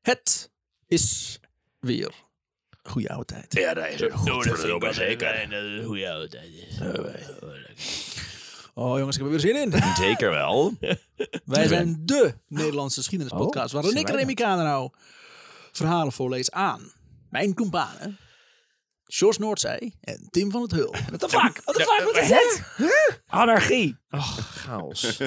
Het is weer goede oude tijd. Ja, dat is een Oh, dat vind ik wel zeker. fijn dat het een goede oude tijd is. Oh, lekker. Oh jongens, ik heb er weer zin in. Zeker wel. Wij zijn de Nederlandse geschiedenispodcast. Oh, waarin zijn ik wij Remy Kadenau verhalen voorlees aan mijn kompanen. Sjors Noordzij en Tim van het Hul. What the fuck? What the fuck? Wat is dit? Anarchie. Chaos.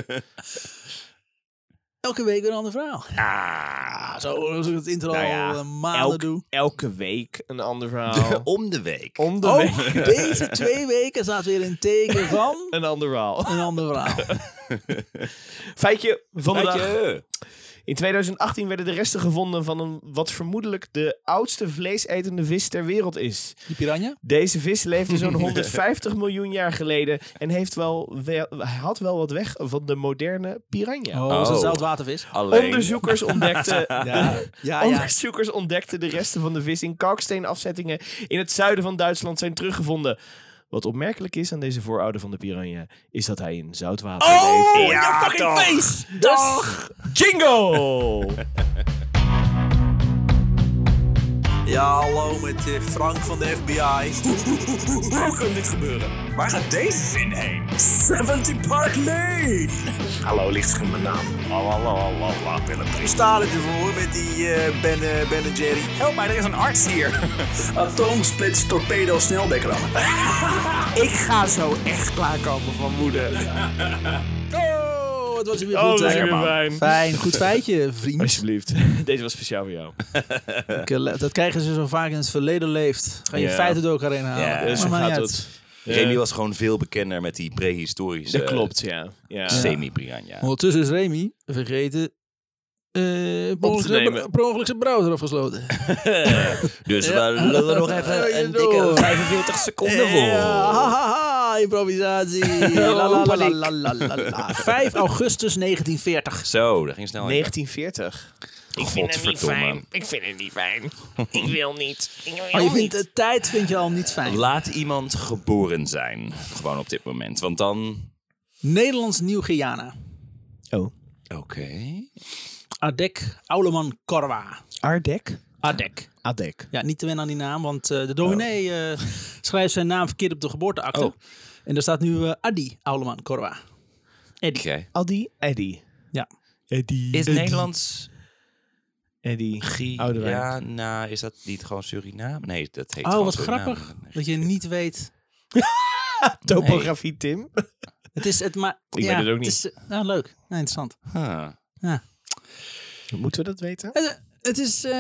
Elke week weer een ander verhaal. Ah, Ah, zo als ik het intro Nou ja, al eh, maanden elk- doe. elke week een ander verhaal. Om de week. Om de Oh, week deze twee weken staat weer een teken van een ander verhaal. een ander verhaal. Feitje van de dag. Vandaag. In 2018 werden de resten gevonden van een wat vermoedelijk de oudste vleesetende vis ter wereld is. Die piranha? Deze vis leefde zo'n 150 miljoen jaar geleden en heeft wel, wel, had wel wat weg van de moderne piranha. Oh, Oh. dat is een zoutwatervis. Alleen. Onderzoekers ontdekten Ja, ja, ja. Onderzoekers ontdekten de resten van de vis in kalksteenafzettingen in het zuiden van Duitsland zijn teruggevonden. Wat opmerkelijk is aan deze voorouder van de piranha, is dat hij in zoutwater Oh, leeft. in Ja, je fucking toch. face! Dat is- Jingo! Ja, hallo met eh, Frank van de FBI. Hoe kan dit gebeuren? Waar gaat deze zin heen? 70 Park Lane! Hallo, lichtscherm, mijn naam. Lalalala, Willem Ik Priest. sta ervoor met die eh ben, eh, ben en Jerry. Help mij, er is een arts hier. Atomsplits torpedo snelbekrammen. Ik ga zo echt klaarkomen van woede. Oh, het was weer Oh, goed. dat is hè? weer fijn. Fijn, goed feitje, vriend. Alsjeblieft. Deze was speciaal voor jou. Ik, eh, Dat krijgen ze zo vaak in het verleden leeft. Ga je Ja. feiten door elkaar heen halen. Ja, Maakt Dus zo maar gaat niet uit. het. Remy was gewoon veel bekender met die prehistorische... Dat klopt, Eh, ja. ja. eh, Semi-piranha. Ondertussen is Remy vergeten eh per Op te ongeluk nemen. zijn- per ongeluk zijn browser afgesloten. Dus Ja. we lullen nog Ja, even je een dikke door. 45 seconden vol. Ja, ha, ha, Ah, ha, improvisatie. La, la, la, la, la, la, la. 5 augustus 1940. Zo, dat ging snel. 1940. Ik vind het niet fijn. Ik vind het niet fijn. Ik wil niet. Ik wil Maar je vindt de tijd vind je al niet fijn. Laat iemand geboren zijn. Gewoon op dit moment. Want dan... Nederlands Nieuw-Guyana. Oh. Oké. Adek Ouleman Korwa. Ardek? Adek. Adek. Ja, niet te wennen aan die naam, want eh, de dominee Oh. eh, schrijft zijn naam verkeerd op de geboorteakte. Oh. En daar staat nu eh, Adi Ouleman Korwa. Eddie. Oké. Addy? Eddy. Ja. Eddy. Is Nederlands... Eddy. Oudewijk. Ja, nou, is dat niet gewoon Suriname? Nee, dat heet Oh, gewoon wat Suriname. grappig dat je niet weet. Topografie, Tim. Het is het maar. Ik ja, weet het ook is, eh, nou, leuk. Ja, interessant. Huh. Moeten we dat weten? Het, eh, het is. eh,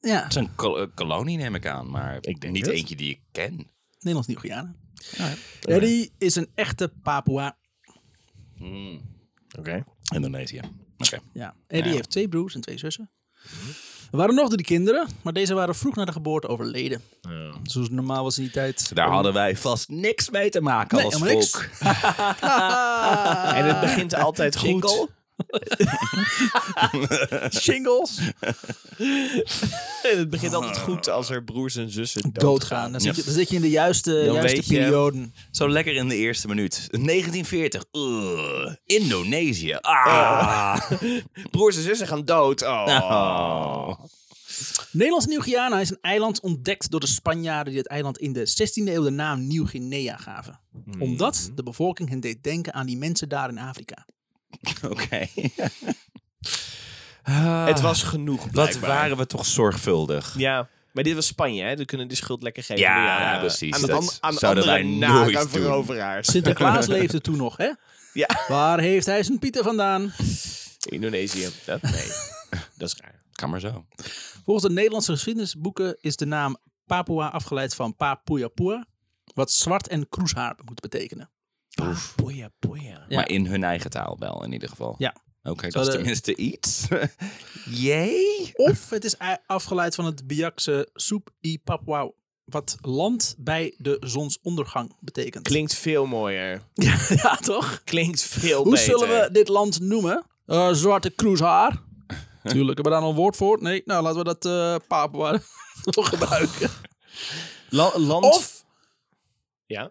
ja, Het is een kol- eh, kolonie, neem ik aan, maar Ik denk niet het. eentje die ik ken. Nederlands Nieuw-Guyana. Ah, Eddie is een echte Papua. Oké. Indonesië. Oké. Ja. Eddie heeft twee broers en twee zussen. Er waren nog drie kinderen, maar deze waren vroeg na de geboorte overleden. Zoals normaal was in die tijd. Daar hadden wij vast niks mee te maken Nee, als helemaal niks. volk. En het begint altijd goed. Jingle. Shingles. het begint altijd goed als er broers en zussen Doodgaan. Dan zit, je, dan zit je in de juiste, Dan juiste weet je- perioden. Zo lekker in de eerste minuut. 1940. Ugh. Indonesië. Ah. Broers en zussen gaan dood. Oh. Oh. Nederlands Nieuw-Guyana is een eiland ontdekt door de Spanjaarden die het eiland in de 16e eeuw de naam Nieuw-Guinea gaven. Mm-hmm. Omdat de bevolking hen deed denken aan die mensen daar in Afrika. Oké. Het was genoeg. Wat blijkbaar. waren we toch zorgvuldig? Ja. Maar dit was Spanje, hè? Dan kunnen die schuld lekker geven. Ja, nu aan, eh, precies. Aan, de Dat an- aan zouden andere wij nare nooit doen. veroveraars. Sinterklaas leefde toen nog, hè? Ja. Waar heeft hij zijn Pieter vandaan? Indonesië. Dat, nee. dat is raar. Kan maar zo. Volgens de Nederlandse geschiedenisboeken is de naam Papua afgeleid van Papuapua, wat zwart en kroeshaar moet betekenen. Poeja, poeja. Ja. Maar in hun eigen taal wel, in ieder geval. Ja. Oké, dat is hadden- tenminste iets. Jee. Of het is ei- afgeleid van het Biakse soep i Papua, wat land bij de zonsondergang betekent. Klinkt veel mooier. Ja, toch? Klinkt veel Hoe beter. zullen we dit land noemen? Eh, zwarte kroeshaar. Tuurlijk, hebben we daar nog een woord voor? Nee, nou laten we dat eh Papua toch gebruiken. La- land... Of Ja?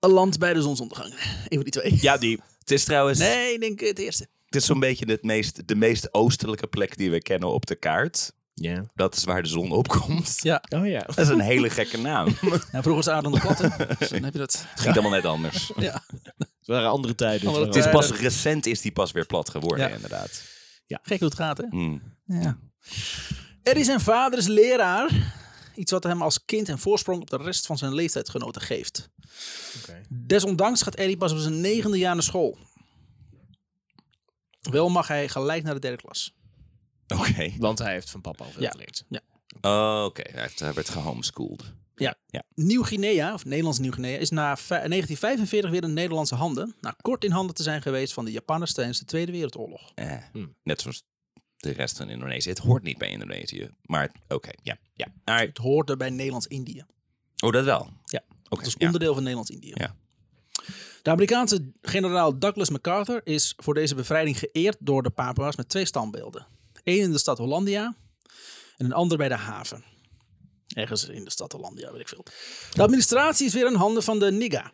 een land bij de zonsondergang. Een van die twee. Ja, die. Het is trouwens... Nee, ik denk het eerste. Dit is zo'n beetje het meest, de meest oostelijke plek die we kennen op de kaart. Ja. Dat is waar de zon opkomt. Ja. Oh ja. Dat is een hele gekke naam. Het ja, vroeger was de aarde aan de platte. Dus dan heb je dat. ging allemaal net anders. Ja. Het waren andere tijden. Andere Het is tijden. pas recent is die pas weer plat geworden, Ja. inderdaad. Gek hoe het gaat, hè? Hmm. Ja. Eddie zijn vader is leraar. Iets wat hem als kind een voorsprong op de rest van zijn leeftijdgenoten geeft. Oké. Desondanks gaat Eddie pas op zijn negende jaar naar school. Wel mag hij gelijk naar de derde klas. Oké. Want hij heeft van papa al veel Ja. geleerd. Oh, Oké, hij heeft- hij werd gehomeschoold. Nieuw-Guinea, of Nederlands Nieuw-Guinea, is na fi- 1945 weer in Nederlandse handen. Na kort in handen te zijn geweest van de Japanners tijdens de Tweede Wereldoorlog. Eh, Hmm. Net zoals de rest van Indonesië. Het hoort niet bij Indonesië. Maar oké, ja. ja. Alright. Het hoorde bij Nederlands-Indië. Oh, dat wel. Ja. Oké. Het is ja. onderdeel van Nederlands-Indië. Ja. De Amerikaanse generaal Douglas MacArthur is voor deze bevrijding geëerd door de Papua's met twee standbeelden. Eén in de stad Hollandia en een ander bij de haven. Ergens in de stad Hollandia, weet ik veel. De administratie is weer in handen van de Niga.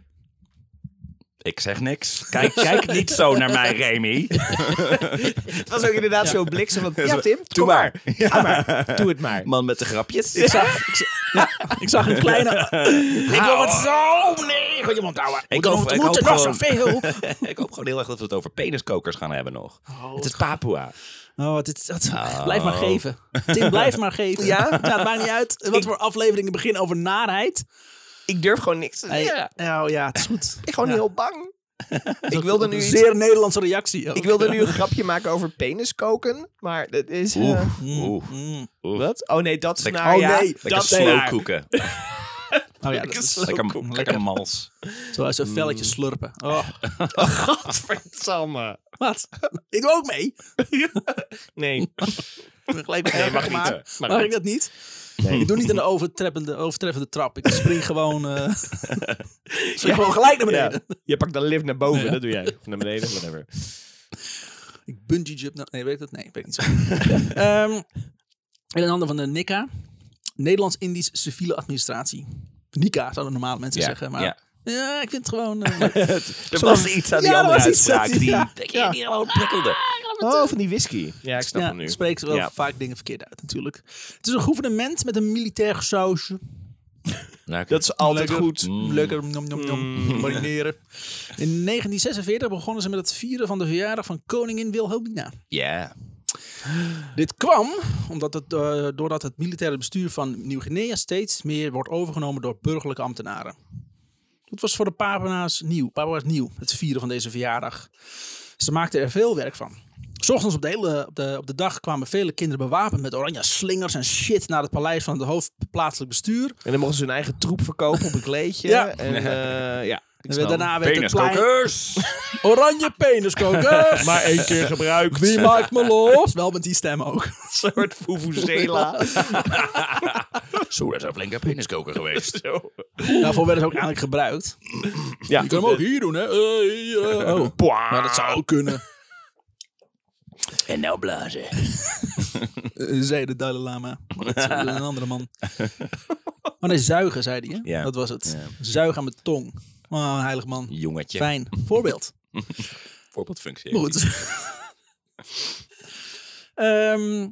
Ik zeg niks. Kijk, kijk niet zo naar mij, Remy. Dus Het was ook inderdaad zo bliksem van, ja Tim, Doe maar. Ja. Doe maar. Doe het maar. Man met de grapjes. Ik zag, ik, zag- ja, ik zag een kleine... ik wil het zo... Nee, goed, je mond houden. Ik Moet- hoop- moet- ik moet hoop er nog gewoon- zoveel. ik hoop gewoon heel erg dat we het over peniskokers gaan hebben nog. het is Papua. Oh, wat dit, wat, blijf maar geven. Tim, blijf maar geven. Ja? Nou, het maakt niet uit wat voor afleveringen beginnen over naarheid. Ik durf gewoon niks te Hey, zeggen. Oh ja, het is goed. Ik ben gewoon Ja. heel bang. ik wilde nu Een iets- zeer Nederlandse reactie. ook. Ik wilde nu een grapje maken over penis koken, maar dat is... eh, Oeh, oeh. Mm. Wat? Oh nee, dat is Lekker- naar... oh ja, nee, Lekker dat slowkoeken. Oh ja, dat Lekker is- slow. Lekker, lekker mals. zo uit zo'n velletje slurpen. Oh, Godverdamme. wat? Ik doe ook mee. Nee. Ik ben gelijk nee, mag niet, hè. maar, Mag mag, niet. ik dat niet? Ik doe niet aan de overtreffende, overtreffende trap. Ik spring gewoon, eh, spring gewoon gelijk naar Ja. beneden. Je pakt de lift naar boven, dat doe jij. Of naar beneden, whatever. Ik bungee jump. nou, nee, weet ik dat? Nee, weet ik niet zo. Ehm in de handen van de NICA. Nederlands-Indisch Civiele Administratie. NICA zouden normale mensen Ja, zeggen. Maar ja. ja. ik vind het gewoon... eh, Er was iets aan die Ja, er andere was iets uitspraak aan- die, ja. die, die gewoon prikkelde. Oh, van die whisky. Ja, ik snap ja, hem nu. spreekt wel Ja. vaak dingen verkeerd uit natuurlijk. Het is een gouvernement met een militair sausje. Nou, Dat is altijd Lekker. Mm. goed. Lekker nom, nom, nom, Mm. marineren. In 1946 begonnen ze met het vieren van de verjaardag van koningin Wilhelmina. Ja. Dit kwam omdat het, eh, doordat het militaire bestuur van Nieuw-Guinea steeds meer wordt overgenomen door burgerlijke ambtenaren. Dat was voor de Papua's nieuw, Papua's nieuw, het vieren van deze verjaardag. Ze maakten er veel werk van. 's Ochtends op de, hele, op, de, op de dag kwamen vele kinderen bewapend met oranje slingers en shit naar het paleis van het hoofdplaatselijk bestuur. En dan mochten ze hun eigen troep verkopen op een kleedje. Ja. En eh, ja, ik En snap hem. daarna werd het plein Peniskokers! oranje peniskokers. Maar één keer gebruikt. Wie maakt me los? Wel met die stem ook. Een soort vuvuzela. Zo, dat is een flinke peniskoker geweest. Zo. Daarvoor werd het ook eigenlijk gebruikt. Ja. Je kunt hem ook hier doen, hè? Eh, hier, eh, oh. Pwa. Maar dat zou ook kunnen, En nou blazen. eh, zei de Dalai Lama. Maar dat is een andere man. Maar nee, zuigen, zei hij. Hè? Ja. Dat was het. Ja. Zuigen aan mijn tong. Oh, heilig man. Jongetje. Fijn. Voorbeeld. Voorbeeldfunctie. Maar goed. Ehm,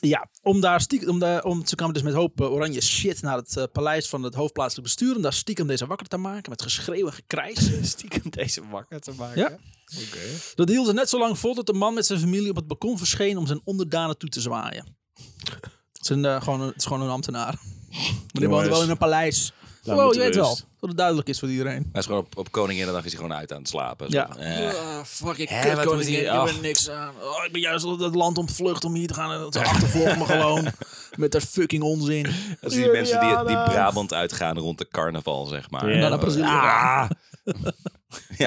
ja, om daar stiekem, om daar, om, ze kwamen dus met hoop eh, oranje shit naar het eh, paleis van het hoofdplaatselijk bestuur. Om daar stiekem deze wakker te maken met geschreeuw en gekrijs. Stiekem deze wakker te maken. Ja. Oké. Dat hield ze net zo lang vol tot de man met zijn familie op het balkon verscheen om zijn onderdanen toe te zwaaien. Het is, een, eh, gewoon een, het is gewoon een ambtenaar. Maar die woont wel in een paleis. laat wow, met je de weet wel. rust. Dat het duidelijk is voor iedereen. Hij is gewoon op, op Koninginnedag is hij gewoon uit aan het slapen. Zo Ja. van, eh, Ah, fuck, ik Hè, kut, wat koningin, moet hier- ik heb er ach. niks aan. Oh, ik ben juist op dat land ontvlucht om hier te gaan. Ze achtervolgen me gewoon met dat fucking onzin. Dat zijn die mensen die, die Juliana. Brabant uitgaan rond de carnaval, zeg maar. Ja. naar Brazilië Ja, Ah.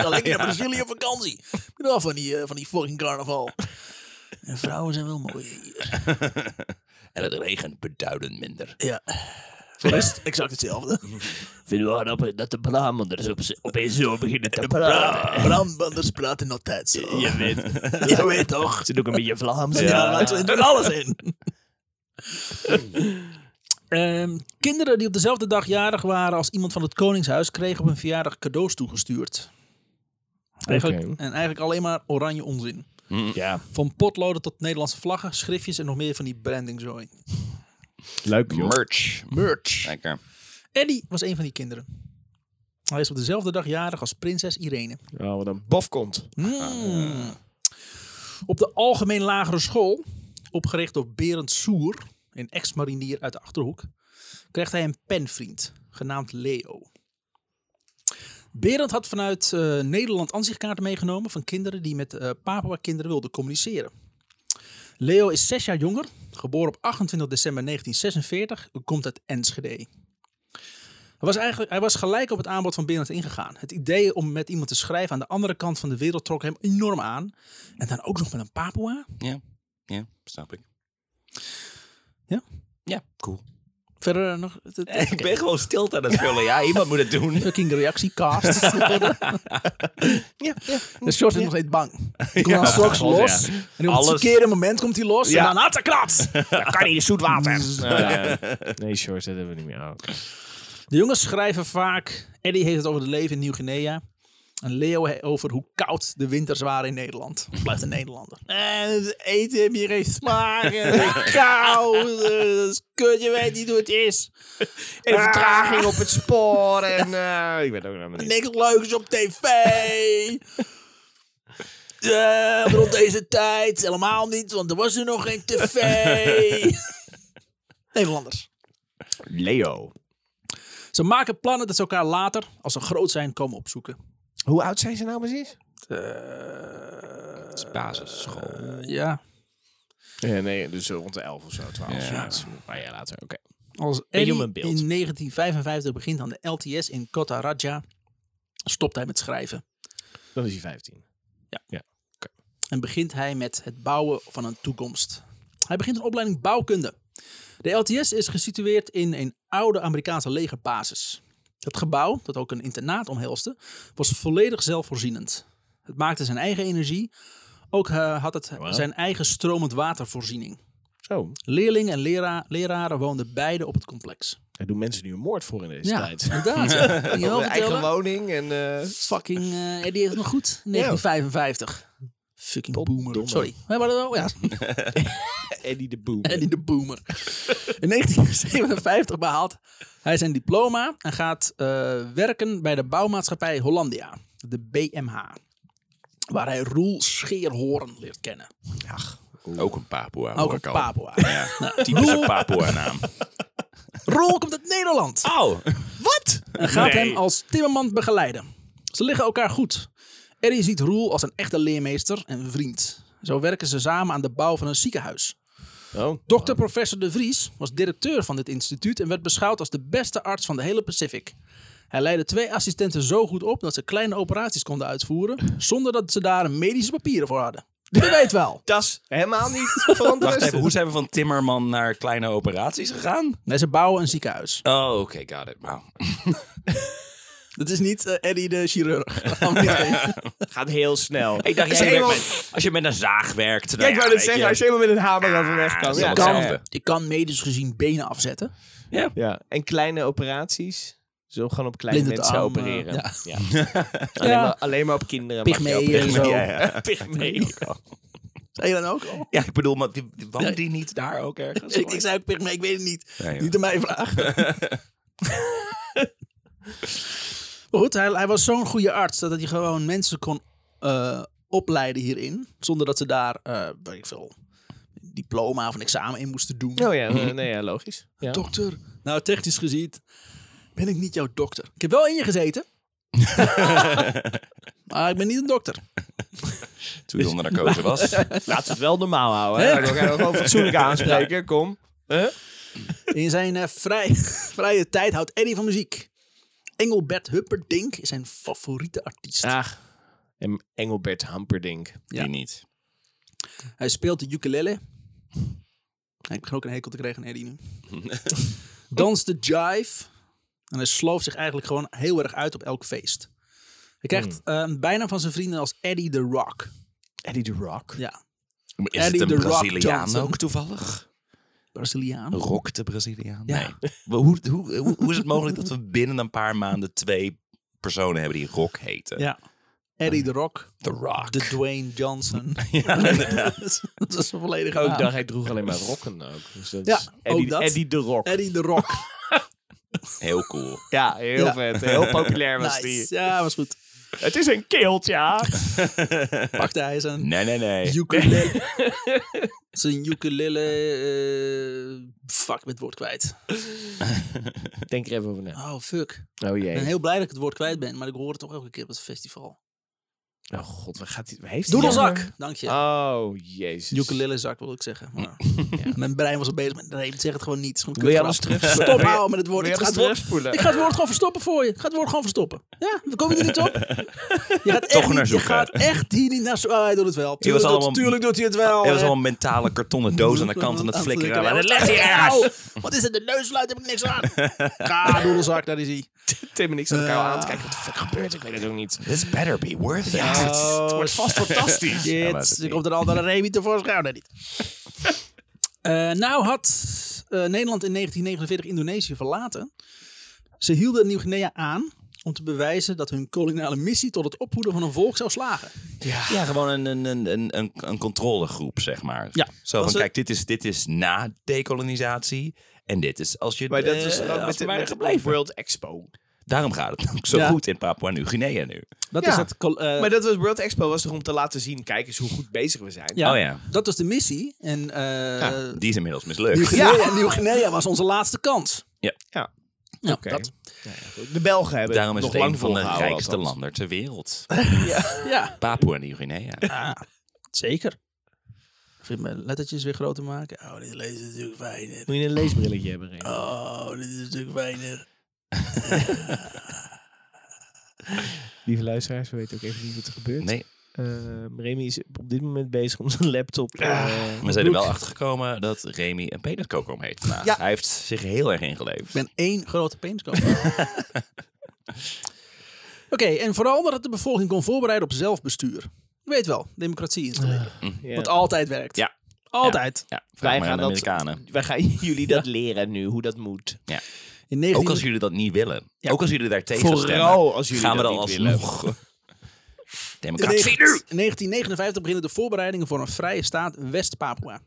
ja, lekker naar Brazilië op vakantie. Ik ben wel van die, eh, van die fucking carnaval. En vrouwen zijn wel mooi hier. En het regent beduidend minder. Ja. Voor de rest exact hetzelfde. Vinden we grappig dat de Brabanders op, opeens zo beginnen te praten. Bra- Brabanders praten altijd zo. Je weet, Je weet toch. ze doen ook een beetje Vlaams. Ja, laten we doen alles in. Ehm, kinderen die op dezelfde dag jarig waren als iemand van het koningshuis kregen op hun verjaardag cadeaus toegestuurd. Eigenlijk, Oké. En eigenlijk alleen maar oranje onzin. Ja, Van potloden tot Nederlandse vlaggen, schriftjes en nog meer van die branding zooi. leuk joh. Merch. Merch. Lekker. Eddie was een van die kinderen. Hij is op dezelfde dag jarig als prinses Irene. Oh, wat een bof komt. Mm. Op de algemeen lagere school, opgericht door Berend Soer, een ex-marinier uit de Achterhoek, kreeg hij een penvriend, genaamd Leo. Berend had vanuit eh, Nederland aanzichtkaarten meegenomen van kinderen die met eh Papua-kinderen wilden communiceren. Leo is zes jaar jonger, geboren op 28 december 1946 en komt uit Enschede. Hij was, eigenlijk, hij was gelijk op het aanbod van Berend ingegaan. Het idee om met iemand te schrijven aan de andere kant van de wereld trok hem enorm aan. En dan ook nog met een Papua. Ja. Ja, snap ik. Ja? Ja, cool. Verder eh, nog... het- het- Ik ben gewoon stilte aan het vullen. Ja, iemand moet het doen. Fucking reactiecast. ja, ja. De short is nog steeds bang. Komt dan straks God, los. ja. En op het Alles- verkeerde moment komt hij los. Ja. En dan had klats. Dan kan niet zoet water. Nee, shorts, dat hebben we niet meer. Oh, oké. De jongens schrijven vaak... Eddie heeft het over het leven in Nieuw-Guinea. En Leo he- over hoe koud de winters waren in Nederland. Blijft een Nederlander. En Eh, het eten heb je geen smaak. En koud. eh, Dat is kut. Je weet niet hoe het is. En vertraging op het spoor. En, eh, ik weet het ook helemaal niet. Niks leuks op tv. Eh, rond deze tijd helemaal niet, want er was er nog geen tv. Nederlanders. Leo. Ze maken plannen dat ze elkaar later, als ze groot zijn, komen opzoeken. Hoe oud zijn ze nou precies? Basisschool. Eh, ja. Ja, nee, dus rond de 11 of zo, 12. Ja, dat is een paar jaar later. Oké. Als Eddie human in beeld. 1955 begint aan de LTS in Kota Raja, stopt hij met schrijven. Dan is hij 15. en begint hij met het bouwen van een toekomst. Hij begint een opleiding bouwkunde. De LTS is gesitueerd in een oude Amerikaanse legerbasis. Het gebouw, dat ook een internaat omhelste, was volledig zelfvoorzienend. Het maakte zijn eigen energie. Ook eh, had het Wauw. zijn eigen stromend watervoorziening. Zo. Leerlingen en lera- leraren woonden beide op het complex. Daar doen mensen nu een moord voor in deze tijd. inderdaad. ja. Kan je wel eigen vertellen? woning en... eh, Fucking, eh, die heeft het nog goed. 1955. Fucking boomer. Potdomme. Sorry. We hebben er wel, ja, Eddie de Boom. Eddie de Boomer. In 1957 behaalt hij zijn diploma en gaat eh, werken bij de bouwmaatschappij Hollandia, de BMH. Waar hij Roel Scheerhoorn leert kennen. Ook een Papua. Ook hoor een ik al. Papua. Ja, typische Papua naam. Roel komt uit Nederland Oh, en gaat hem als timmerman begeleiden. Ze liggen elkaar goed. Eddie ziet Roel als een echte leermeester en vriend. Zo werken ze samen aan de bouw van een ziekenhuis. Oh. Dr. Professor De Vries was directeur van dit instituut en werd beschouwd als de beste arts van de hele Pacific. Hij leidde twee assistenten zo goed op dat ze kleine operaties konden uitvoeren zonder dat ze daar medische papieren voor hadden. Je weet wel. Dat is helemaal niet veranderd. wacht even. Hoe zijn we van Timmerman naar kleine operaties gegaan? Nee, ze bouwen een ziekenhuis. Oh, oké, got it. Wauw. Dat is niet eh, Eddie de chirurg. Gaat heel snel. Ik dacht, Als jij je werkt eenmaal- met- als je met een zaag werkt. nou Ja, ik ja, wou net weet zeggen, je. als je helemaal met een hamer overweg dat kan. is Ja, Je wel kan, hetzelfde. je kan medisch gezien benen afzetten. Ja, en kleine operaties. Zo gewoon op kleine Blinde mensen darm, eh, opereren. ja. Ja. Alleen, maar, alleen maar op kinderen. mag je Pygmeeën en opereren. zo. Ja, ja. Pygmeeën. Zei je dan ook al? Ja, ik bedoel, maar die, die- woont die niet daar ook ergens? Ik, ik zei ook pygmee, ik weet het niet. Nee, joh. niet aan mij vragen. maar goed, hij, hij was zo'n goede arts dat hij gewoon mensen kon eh, opleiden hierin. Zonder dat ze daar, eh, weet ik veel, diploma of een examen in moesten doen. Oh ja, eh, nee, ja, logisch. Ja. Dokter. Nou, technisch gezien ben ik niet jouw dokter. Ik heb wel in je gezeten. maar ik ben niet een dokter. Toen hij onder narcose was. Laten we het wel normaal houden. hè. Ja. We gaan elkaar gewoon fatsoenlijk aanspreken. Kom. In zijn eh, vrij, vrije tijd houdt Eddie van muziek. Engelbert Humperdinck is zijn favoriete artiest. Ach. En Engelbert Hamperdink. Die niet. Hij speelt de ukulele. Ik begin ook een hekel te krijgen aan Eddie nu. Danst de jive. En hij slooft zich eigenlijk gewoon heel erg uit op elk feest. Hij krijgt Hmm. eh, bijna van zijn vrienden als Eddie the Rock. Eddie the Rock. Ja, Is Eddie het the een Rock Braziliaan Johnson. ook toevallig? Braziliaan. Rock de Braziliaan? Ja. Nee. Maar Hoe, hoe, hoe, hoe is het mogelijk dat we binnen een paar maanden twee personen hebben die Rock heten? Ja. Eddie de Rock, The Rock. de Dwayne Johnson. ja, inderdaad. dat is een volledige Ook naam. daar, hij droeg alleen maar rokken ook. Dus dat Ja, is Eddie, ook dat. Eddie de Rock. Eddie de Rock. Heel cool. Ja, heel Ja. vet. Heel populair was nice. die. Ja, was goed. Het is een kilt, ja. Pakte hij zijn Nee, nee, nee. ukulele. zijn ukulele. eh, fuck, met het woord kwijt. Denk er even over na. Oh, fuck. Oh Ik ben jee. heel blij dat ik het woord kwijt ben, maar ik hoor het toch elke keer op het festival. Oh god, waar gaat hij? Heeft hij nou- Doedelzak, dank Ah, je. Oh jezus. Ukulele zak wil ik zeggen. Maar Mijn brein was al bezig met. Nee, zeg het gewoon niet. Het is gewoon Wil je kutgrap. alles terugspoelen? Stop Wil je- nou met het woord. wil Ik je ga het alles woord, terugspoelen? ik ga het woord gewoon verstoppen voor je. Ik ga het woord gewoon verstoppen. Ja, we komen er niet op. Je gaat echt, Toch niet, naar je zoeken. gaat echt hier niet naar zoeken. Ah, hij doet het wel. Tuurlijk, allemaal- doet, tuurlijk doet hij het wel. Er was hè. al een mentale kartonnen doos aan de kant aan het flikkeren. Ja, Maar dat wat- legt hij Au, ergens. Wat is het? De neusluit heb ik niks aan. Ga, doedelzak, daar is hij. Tim en ik zaten elkaar Eh. aan te kijken. Wat de fuck gebeurt? Ik weet het ook niet. This better be worth it. het wordt vast fantastisch. Ja, maar dat is Shit, niet. er komt een andere Remy tevoorschijn. Nee, niet. Eh, nou had eh, Nederland in 1949 Indonesië verlaten. Ze hielden Nieuw-Guinea aan om te bewijzen dat hun koloniale missie tot het opvoeden van een volk zou slagen. Ja, gewoon een, een, een, een, een, een controlegroep, zeg maar. Ja. Zo van, Was het- kijk, dit is, dit is na decolonisatie. En dit is als je... Maar dat eh, is ook als met, we de, waren met de gebleven. World Expo. Daarom gaat het ook zo Ja. goed in Papua-Nieuw-Guinea nu. Dat Ja. is het. kol- eh, Maar dat was World Expo was toch om te laten zien, kijk eens hoe goed bezig we zijn. ja, Oh ja. Dat was de missie. En eh, Die is inmiddels mislukt. Nieuw-Guinea Nieuw-Guinea was onze laatste kans. Ja. Ja. Ja, Oké. dat- Ja, ja, goed. de Belgen hebben Daarom is het het nog lang een van de volgehouden, rijkste althans. landen ter wereld. ja. Papua-Nieuw-Guinea. zeker. Vind je mijn lettertjes weer groter maken? Oh, dit lezen is natuurlijk weinig. Moet je een leesbrilletje hebben, Ray? Oh, dit is natuurlijk weinig. Lieve luisteraars, we weten ook even niet wat er gebeurt. Nee, Ehm, Remy is op dit moment bezig om zijn laptop. eh, we zijn er wel achter gekomen dat Remy een peniscokom heet. vandaag. Ja. Hij heeft zich heel erg ingeleefd. Ik ben één grote peniskoop. Oké, en vooral dat het de bevolking kon voorbereiden op zelfbestuur. Je weet wel, democratie installeren. ja. Wat altijd werkt. Ja. Altijd. Ja, vraag Wij maar aan gaan, de dat, Amerikanen. wij gaan jullie dat leren nu, hoe dat moet. In Ook 19... als jullie dat niet willen. Ja. Ook als jullie daar tegen stemmen. Vooral als jullie Gaan we dat dan niet alsnog. in Democratie 19 nu! in 1959 beginnen de voorbereidingen voor een vrije staat West-Papua.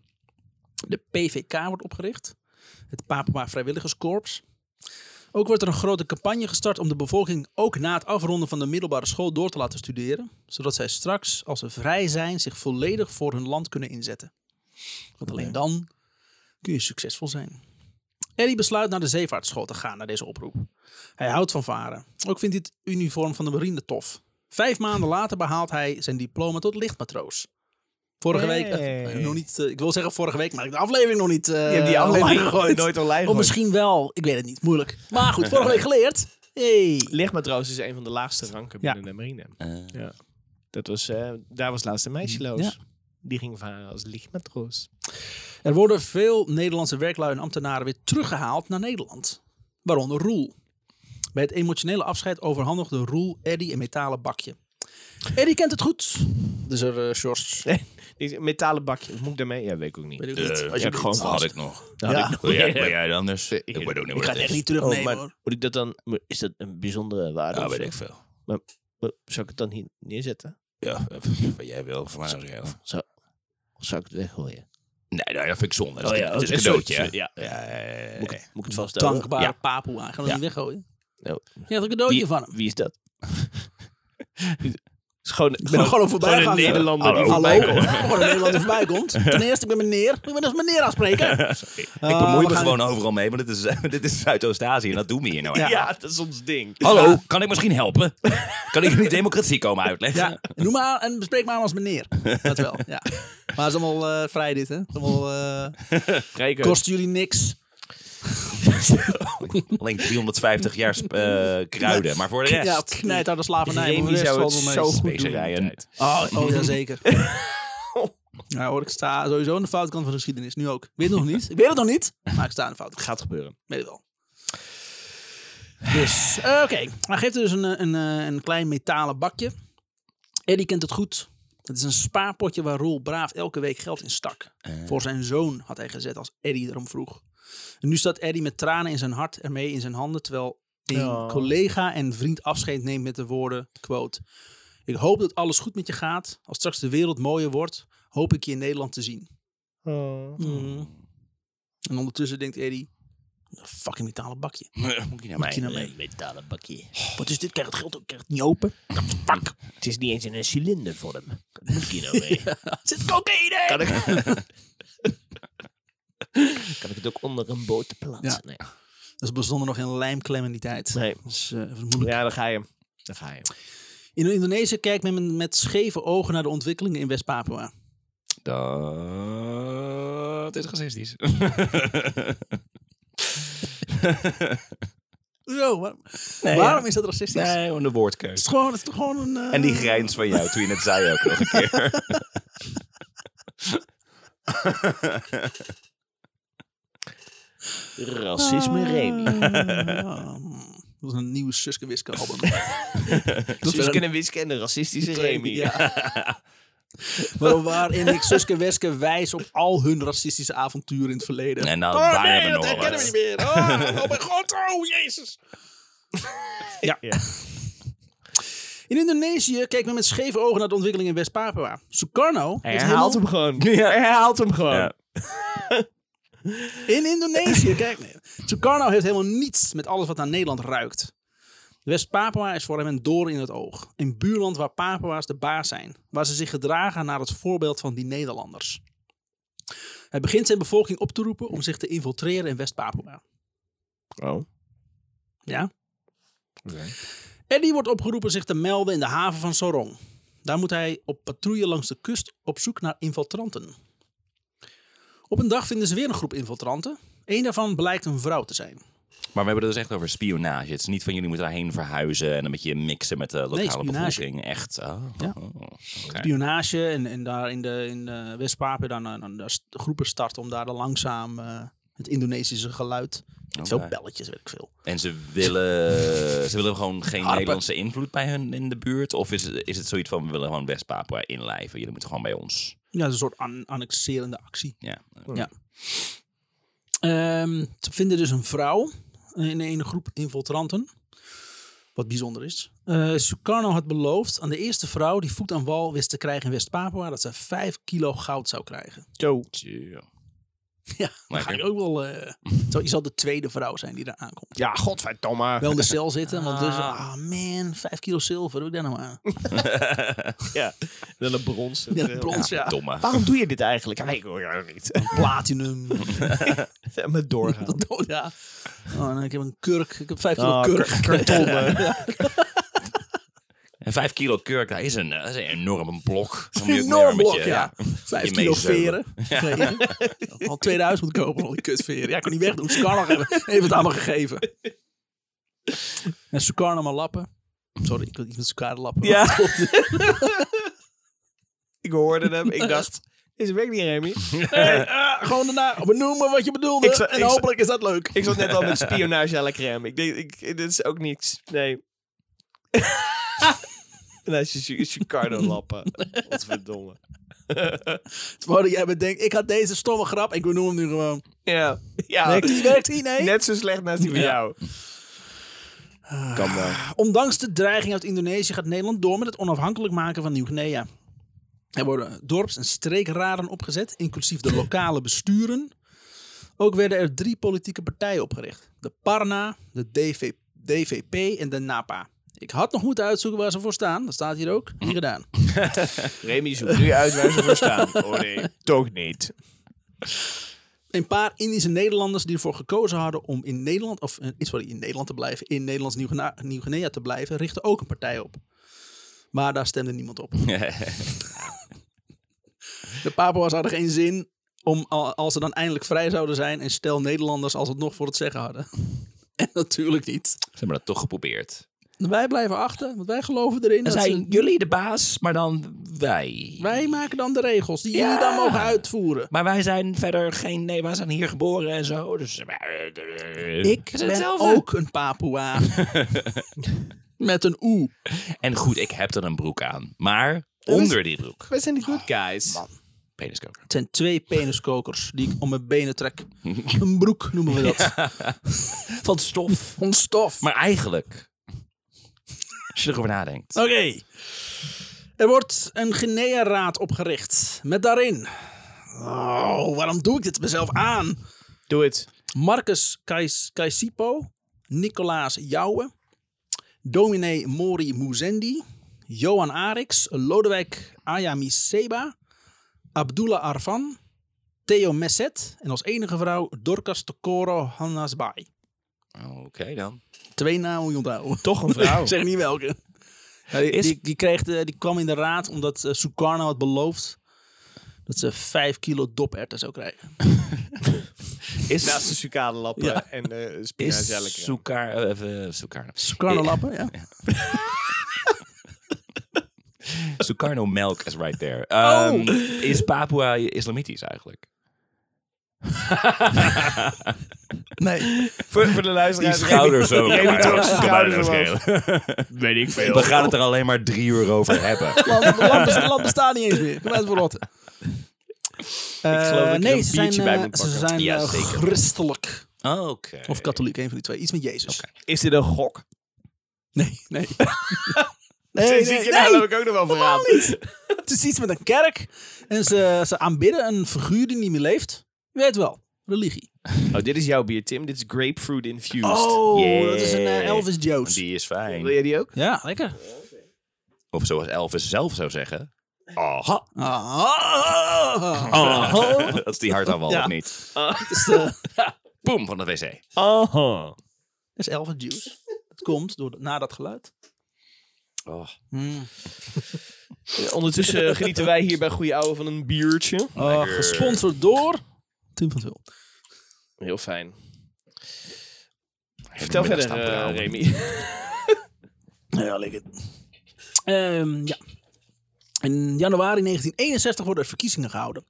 De PVK wordt opgericht. Het Papua Vrijwilligerskorps. Ook wordt er een grote campagne gestart om de bevolking ook na het afronden van de middelbare school door te laten studeren. Zodat zij straks, als ze vrij zijn, zich volledig voor hun land kunnen inzetten. Want alleen dan kun je succesvol zijn. Eddie besluit naar de zeevaartschool te gaan, naar deze oproep. Hij houdt van varen. Ook vindt hij het uniform van de marine tof. Vijf maanden later behaalt hij zijn diploma tot lichtmatroos. Vorige week, eh, Hey. nog niet, eh, ik wil zeggen vorige week, maar ik heb de aflevering nog niet. eh, Je hebt die online aflevering gegooid. nooit online Of gegooid. misschien wel, ik weet het niet, moeilijk. Maar goed, vorige week geleerd. Hey. Lichtmatroos is een van de laagste ranken Ja. binnen de marine. Eh, Ja. Dat was, eh, daar was laatst een meisje Loos. Ja. Die ging varen als lichtmatroos. Er worden veel Nederlandse werklui en ambtenaren weer teruggehaald naar Nederland. Waaronder Roel. Bij het emotionele afscheid overhandigde Roel Eddie een metalen bakje. Eddie kent het goed. Dus er, eh shorts. Die metalen bakje, moet ik daarmee? Ja, weet ik ook niet. Weet ik eh, niet. Als ja, je dat gewoon had ik nog. Ja. Wil jij, wil jij het anders? Ik weet ook niet Ik wat ga het het echt is. niet terugnemen Oh, maar hoor. moet ik dat dan... mo- Is dat een bijzondere waarde? Ja, of weet zo? ik veel. Wa- Zou ik het dan hier neerzetten? Ja, eh, pff, wat jij wil. Voor mij als jij wil. Of zou ik het weggooien? Nee, nee, dat vind ik zonde. Dat Oh is, ja, dat is dat een is cadeautje. zo- hè? ja. ja, ja, ja. Moet ik, het- moet ik het vasthouden? Dankbare Ja. Papoea. Gaan we dat Ja. niet weggooien? Nou, Je had een cadeautje van hem. Wie is dat? Het is gewoon, Ik ben er gewoon een gewoon een voorbijgaander. Nederlander. die Hallo, voorbij- gewoon een Nederlander voorbij komt. Ten eerste, ik ben meneer. Ik ben als meneer aanspreken. Ik Ah, bemoei we me gaan- gewoon overal mee, want dit is, dit is Zuidoost-Azië en dat doen we hier nou. Ja. Ja. Ja, dat is ons ding. Hallo, kan ik misschien helpen? kan ik jullie democratie komen uitleggen? Ja, noem maar aan en bespreek maar hem als meneer. Dat wel, ja. Maar het is allemaal eh, vrij dit, hè? Het is allemaal, eh, Vrij keuze. kost jullie niks. Alleen 350 jaar sp- eh, kruiden, maar voor de rest... Ja, knijt aan de slavernij. Remy voor de rest Oh, zou het valt wel zo mee. goed doen. Specerijen. in die tijd. Oh, oh ja, zeker. Nou hoor, ik sta sowieso aan de foute kant van de geschiedenis. Nu ook. Ik weet het nog niet. Ik weet het nog niet, maar ik sta aan de foute kant. Gaat gebeuren. Weet het wel. Dus, eh, oké. Hij geeft dus een, eh, een, eh, een klein metalen bakje. Eddie kent het goed. Het is een spaarpotje waar Roel braaf elke week geld in stak. Voor zijn zoon had hij gezet als Eddie erom vroeg. En nu staat Eddie met tranen in zijn hart ermee in zijn handen. Terwijl een Ja. collega en vriend afscheid neemt met de woorden, quote... Ik hoop dat alles goed met je gaat. Als straks de wereld mooier wordt, hoop ik je in Nederland te zien. Oh. Mm. En ondertussen denkt Eddie, fucking metalen bakje. Moet je naar mij? je nou mee? Een metalen bakje. Oh, Wat is dit? Krijg het geld ook krijg het niet open. Fuck. Het is niet eens in een cilindervorm. Dat moet je nou mee. Zit cocaïne! Kan ik... kan ik het ook onder een boot plaatsen? Nee. Dus er bestonden nog geen lijmklem in die tijd. Nee. Dus, eh, even moeilijk. Ja, daar ga je. Daar ga je. In Indonesië kijkt men met scheve ogen naar de ontwikkelingen in West-Papua. Dat is racistisch. Zo, waar- Nee, waarom ja. is dat racistisch? Het, Nee, gewoon de woordkeus. is gewoon, het is toch gewoon een... eh, En die grijns van jou toen je het zei ook nog een keer. Racisme, Remy. Ah, Dat is een nieuwe Suske Wiske album. Dus wel we kunnen wisken en de racistische Remy. Ja. Maar waarin ik Suske Wiske wijs op al hun racistische avonturen in het verleden. En nou, oh waren nee, er dat nog herkennen we niet wat. meer. Oh, oh mijn god, oh jezus. ja. Ja. In Indonesië kijkt men met scheve ogen naar de ontwikkeling in West-Papua. Sukarno Hij heeft herhaalt helemaal- hem gewoon. Hij herhaalt hem gewoon. Ja. In Indonesië, kijk. nee. Sukarno heeft helemaal niets met alles wat naar Nederland ruikt. West-Papua is voor hem een doorn in het oog. Een buurland waar Papua's de baas zijn. Waar ze zich gedragen naar het voorbeeld van die Nederlanders. Hij begint zijn bevolking op te roepen om zich te infiltreren in West-Papua. Oh. Ja? Eddie wordt opgeroepen zich te melden in de haven van Sorong. Daar moet hij op patrouille langs de kust op zoek naar infiltranten. Op een dag vinden ze weer een groep infiltranten. Eén daarvan blijkt een vrouw te zijn. Maar we hebben het dus echt over spionage. Het is niet van jullie moeten daarheen verhuizen en een beetje mixen met de lokale spionage. bevolking. Echt. Oh, Ja. oh, oké. spionage en, en daar in de, in de West-Papen dan, eh, dan daar st- groepen starten om daar dan langzaam eh, het Indonesische geluid. Met veel Oké. belletjes, weet ik veel. En ze willen, ze willen gewoon geen Nederlandse invloed bij hun in de buurt? Of is het, is het zoiets van, we willen gewoon West-Papua inlijven. Jullie moeten gewoon bij ons. Ja, dat is een soort an- annexerende actie. Ja. Ja. Ehm, ze vinden dus een vrouw in een groep infiltranten. Wat bijzonder is. Eh, Sukarno had beloofd aan de eerste vrouw die voet aan wal wist te krijgen in West-Papua dat ze 5 kilo goud zou krijgen. Zo. Tja. Ja, dan ga Lekker. ik ook wel. eh, zo, je zal de tweede vrouw zijn die daar aankomt. Ja, godverdomme. wel in de cel zitten. Want dus, ah man, 5 kilo zilver, doe ik daar nou aan? Ja. Dan een brons. Ja, een brons, ja. Domme. Waarom doe je dit eigenlijk? Ja, nee, ik hoor jou niet. Platinum. Met doorgaan. Oh, ja. Oh, en ik heb een kurk. Ik heb 5 kilo Oh, kurk. kartonnen. En vijf kilo kurk, dat is een, eh, dat is een enorm blok. Dan moet je ook meer Enorm met blok, je- ja. Vijf je kilo veren. meezeulen. Nee, Al 2000 moet kopen, al die kutveren. Ja, ik kon niet wegdoen. Sukarno hebben- heeft het allemaal gegeven. En Sukarno maar lappen. Sorry, ik wil iets met Sukarno lappen. Ja. ik hoorde hem. Ik dacht, is het werkt niet, Remy. Hey, eh, gewoon daarna benoemen wat je bedoelde. Ik zou- en ik zou- hopelijk is dat leuk. Ik zat net al met spionage à la crème. Ik denk, ik, dit is ook niets. Nee. en hij is je Chicardo lappen. Wat verdomme. Terwijl jij bedenkt, ik had deze stomme grap. Ik benoem hem nu gewoon. Ja. ja. Werkt die, werkt die? Nee. Net zo slecht naast die van Ja. jou. Kan wel. Ondanks de dreiging uit Indonesië gaat Nederland door met het onafhankelijk maken van Nieuw-Guinea. Er worden dorps- en streekraden opgezet, inclusief de lokale besturen. Ook werden er drie politieke partijen opgericht: de Parna, de DV, DVP en de NAPA. Ik had nog moeten uitzoeken waar ze voor staan. Dat staat hier ook. Niet gedaan. Remy zoekt nu uit waar ze voor staan. Oh nee, toch niet. Een paar Indische Nederlanders die ervoor gekozen hadden om in Nederland, of eh, sorry, in Nederland te blijven, in Nederlands Nieuw-Guinea Nieuw-Guinea te blijven, richtten ook een partij op. Maar daar stemde niemand op. De Papua's hadden geen zin om, al- als ze dan eindelijk vrij zouden zijn, en stel Nederlanders als het nog voor het zeggen hadden. En natuurlijk niet. Ze hebben dat toch geprobeerd. Wij blijven achter, want wij geloven erin. Dan dat zijn ze- jullie de baas, maar dan wij. Wij maken dan de regels die jullie Ja. dan mogen uitvoeren. Maar wij zijn verder geen... Nee, wij zijn hier geboren en zo. Dus... eh, Ik Is ben hetzelfde. ook een Papua. Met een oe. En goed, ik heb er een broek aan. Maar onder die broek. Wij zijn de good guys. Peniskoker. Het zijn twee peniskokers die ik om mijn benen trek. Een broek noemen we dat. Van stof. Van stof. Maar eigenlijk... Als je erover nadenkt. Oké. Er wordt een Guinea-raad opgericht. Met daarin. Oh, waarom doe ik dit mezelf aan? Doe het. Marcus Kais- Kaisipo, Nicolaas Jouwe, dominee Mori Muzendi, Johan Arix, Lodewijk Ayami Seba, Abdullah Arvan, Theo Messet en als enige vrouw Dorcas Tokoro Hannasbai. Oh, Oké dan. Twee namen moet je onthouden. Toch een vrouw. zeg niet welke. Ja, die, Is- die, die kreeg de- die kwam in de raad omdat eh, Sukarno had beloofd dat ze vijf kilo doperten zou krijgen. Is, Naast de sucadelappen Ja. en eh is ja, spinazie Soekar... eh, even Sukarno. Sukarno lappen, ja. Sukarno melk is right there. Ehm, Is Papua islamitisch eigenlijk? Nee. Voor, voor de Die luisteraars. schouders ook. Remy Ja, trok dat zijn kan schouders bijna omhoog. schelen. Weet ik veel. We gaan het er alleen maar drie uur over hebben. Land, land, land bestaat niet eens meer. Kom uit voor rotten. geloof dat ik er nee, een ze zijn, biertje bij eh, moet ze pakken. Eh. zijn Ja, eh, zeker. christelijk. Oké. Of katholiek, een van die twee. Iets met Jezus. Is dit een gok? Nee, nee. Nee, nee, zie ik je nee, nou, nee. heb ik ook nog wel Helemaal verraad. niet. Het is iets met een kerk. En ze, ze aanbidden een figuur die niet meer leeft. Je weet wel, religie. Oh, dit is jouw bier, Tim. Dit is grapefruit infused. Oh, Yeah. dat is een eh, Elvis Jones. Die is Wil fijn. jij die ook? Ja, lekker. Of zoals Elvis zelf zou zeggen. Aha. Ah, dat is die hartaanval Ja. of niet? dat, is, eh, Boom, van de wc. Aha. dat is Elvis Juice. Dat komt door, na dat geluid. Hmm. Oh. Ondertussen eh, genieten wij hier bij Goeie Ouwe van een biertje. Eh, gesponsord door Tim van Vul. Heel fijn. Vertel verder, eh, Remy. Nou Ja, lekker. Ehm, ja. In januari 1961 worden er verkiezingen gehouden.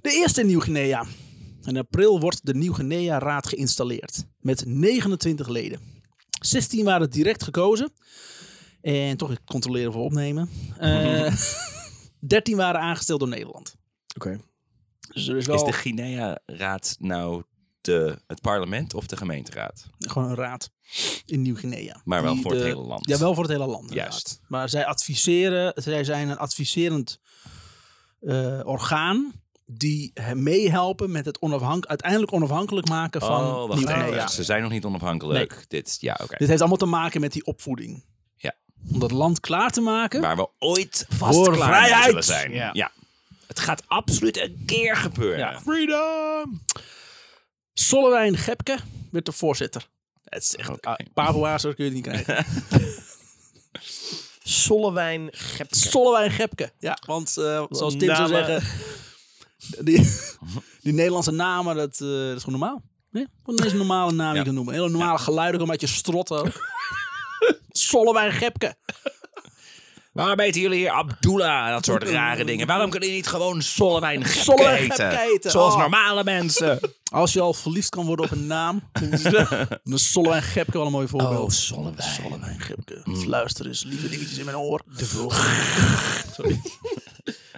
De eerste in Nieuw-Guinea. In april wordt de Nieuw-Guinea-raad geïnstalleerd. Met 29 leden. 16 waren direct gekozen. En toch, ik controleer of we opnemen. Eh 13 waren aangesteld door Nederland. Oké. Dus er is wel Is de Guinea-raad nou de, het parlement of de gemeenteraad? gewoon een raad in Nieuw-Guinea. Maar wel Die voor het de- hele land. Ja, wel voor het hele land. inderdaad. Juist. Maar zij adviseren, zij zijn een adviserend eh, orgaan die he- meehelpen met het onafhank uiteindelijk onafhankelijk maken van oh, wacht even. Nieuw-Guinea. Ze zijn nog niet onafhankelijk. Dit, ja, oké. Dit heeft allemaal te maken met die opvoeding. Ja. Om dat land klaar te maken. Waar we ooit vast Voor klaar mee vrijheid! zullen zijn. Ja. Ja. Het gaat absoluut een keer gebeuren. Ja. Freedom! Solwijn Gepke werd de voorzitter. Het is echt... Ah, Papua's, dat kun je het niet krijgen. Sollewijn Gepke. Solwijn Gepke. Ja, want eh, zoals Tim zou Namen. zeggen, die, die Nederlandse namen, dat, eh, dat is gewoon normaal. Nee, gewoon een normale naam die je Ja. kan noemen. Hele normale geluiden, ook een beetje strotten. ook. Solwijn Gepke. Waarom eten jullie hier Abdullah en dat soort rare dingen? Waarom kunnen jullie niet gewoon Sollewijn Gepke Sollewijn Gepke eten? eten, Zoals oh. normale mensen. Als je al verliefd kan worden op een naam, dan is Solwijn Gepke wel een mooi voorbeeld. Oh, Sollewijn. Solwijn Gepke. Luister eens, lieve dingetjes in mijn oor.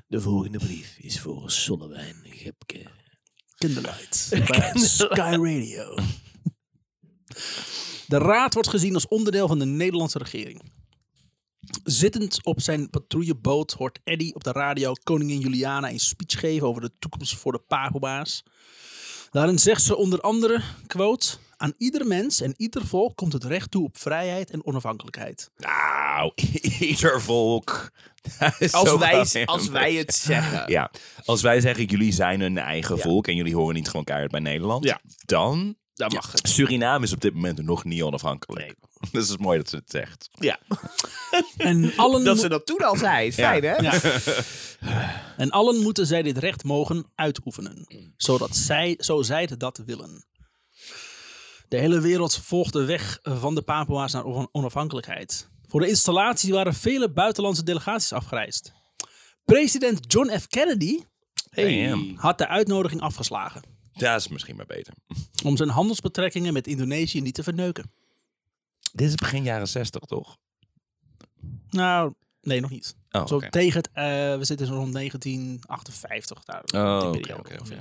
De volgende brief is voor Zonnewijn Gepke. Kinderlight. Bij Sky Radio. De raad wordt gezien als onderdeel van de Nederlandse regering. Zittend op zijn patrouilleboot hoort Eddy op de radio koningin Juliana een speech geven over de toekomst voor de Pagoba's. Daarin zegt ze onder andere, quote, aan ieder mens en ieder volk komt het recht toe op vrijheid en onafhankelijkheid. Nou, ieder volk. Dat is Als ook wel wij, weer als een wij beetje- het zeggen. Ja, als wij zeggen jullie zijn een eigen volk en jullie horen niet gewoon keihard bij Nederland, Ja. dan Dan mag het. Suriname is op dit moment nog niet onafhankelijk. Dus het is mooi dat ze het zegt. Ja. En allen, Dat ze dat toen al zei, is fijn hè? en allen moeten zij dit recht mogen uitoefenen, zodat zij, zo zij dat willen. De hele wereld volgt de weg eh, van de Papua's naar on- onafhankelijkheid. Voor de installatie waren vele buitenlandse delegaties afgereisd. President John F. Kennedy Damn. had de uitnodiging afgeslagen Dat is misschien maar beter. om zijn handelsbetrekkingen met Indonesië niet te verneuken. Dit is begin jaren zestig, toch? Nou, Nee, nog niet. Oh, Zo oké. tegen het, eh, we zitten zo rond 1958 daar. Oh, die oké, periode oké, ongeveer.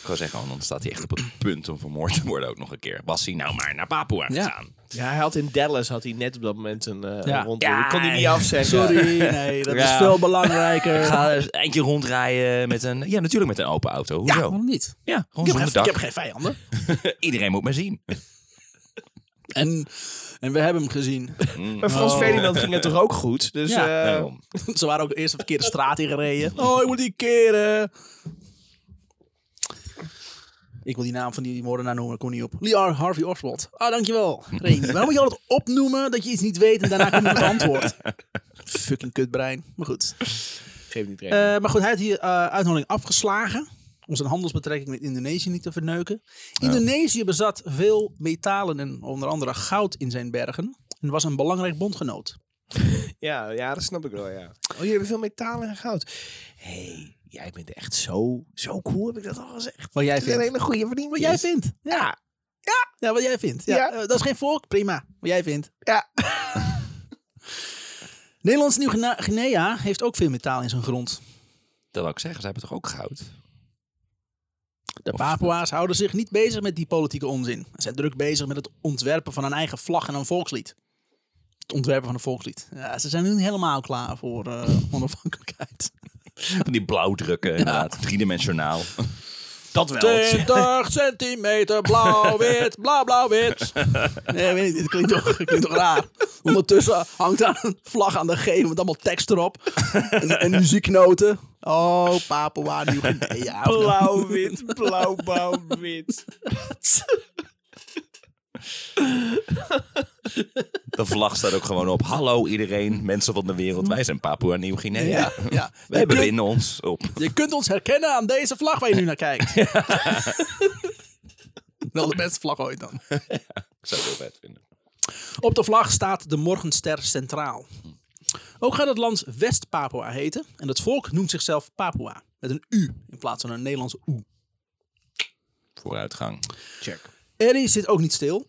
Ik wou zeggen, want dan staat hij echt op het punt om vermoord te worden ook nog een keer. Was hij nou maar naar Papua Ja. gegaan? Ja, hij had in Dallas had hij net op dat moment een eh Ja. rondje. Ja, Ik kon die niet afzeggen. Sorry, nee, dat is Ja. veel belangrijker. Ga eens een eindje rondrijden met een... Ja, natuurlijk met een open auto. ja, Hoezo? waarom niet? Ja, gewoon Ik heb, zonder geen, ik dak. heb geen vijanden. Iedereen moet maar zien. En, en we hebben hem gezien. Maar Frans Oh. Ferdinand ging het toch ook goed? Dus Ja, eh, Daarom. Ze waren ook eerst de verkeerde straat ingereden. Oh, ik moet die keren. Ik wil die naam van die moordenaar noemen, ik kom niet op. Lee R. Harvey Oswald. Ah, dankjewel. Remy. Waarom moet je altijd opnoemen dat je iets niet weet en daarna komt het antwoord? Fucking kutbrein. Maar goed. geef niet recht. Eh, maar goed, hij had hier eh uitnodiging afgeslagen. Om zijn handelsbetrekking met Indonesië niet te verneuken. Indonesië bezat veel metalen en onder andere goud in zijn bergen. En was een belangrijk bondgenoot. ja, ja, dat snap ik wel, ja. Oh, jullie hebben veel metaal en goud. Hé, hey, jij bent echt zo, zo cool, heb ik dat al gezegd. Wat jij Dat is een vindt. hele goede verdienst. Wat jij vindt. Ja, Ja, wat jij vindt. Ja, Ja. eh, dat is geen volk, prima. Wat jij vindt. Ja. Nederlands Nieuw-Guinea heeft ook veel metaal in zijn grond. Dat wou ik zeggen, ze hebben toch ook goud? De Of- Papua's houden zich niet bezig met die politieke onzin. Ze zijn druk bezig met het ontwerpen van een eigen vlag en een volkslied. Het ontwerpen van een volkslied. Ja, ze zijn nu niet helemaal klaar voor eh, onafhankelijkheid. Van die blauwdrukken, inderdaad. Driedimensionaal. dat wel. 20 centimeter blauw-wit, blauw-blauw-wit. Nee, weet niet, het klinkt toch, het klinkt toch raar. Ondertussen hangt daar een vlag aan de gevel met allemaal tekst erop. En, en muziekknoten. Oh, Papua, Nieuw-Guinea. Blauw-wit, blauw-blauw-wit. De vlag staat ook gewoon op. Hallo iedereen, mensen van de wereld. Wij zijn Papua Nieuw-Guinea. Ja, ja. Wij bevinden ons op. Je kunt ons herkennen aan deze vlag waar je nu naar kijkt. Wel de beste vlag ooit dan. Ik zou het heel vet vinden. Op de vlag staat de morgenster centraal. Ook gaat het land West-Papua heten en het volk noemt zichzelf Papua. Met een U in plaats van een Nederlandse Oe. Vooruitgang. Check. Eddie zit ook niet stil.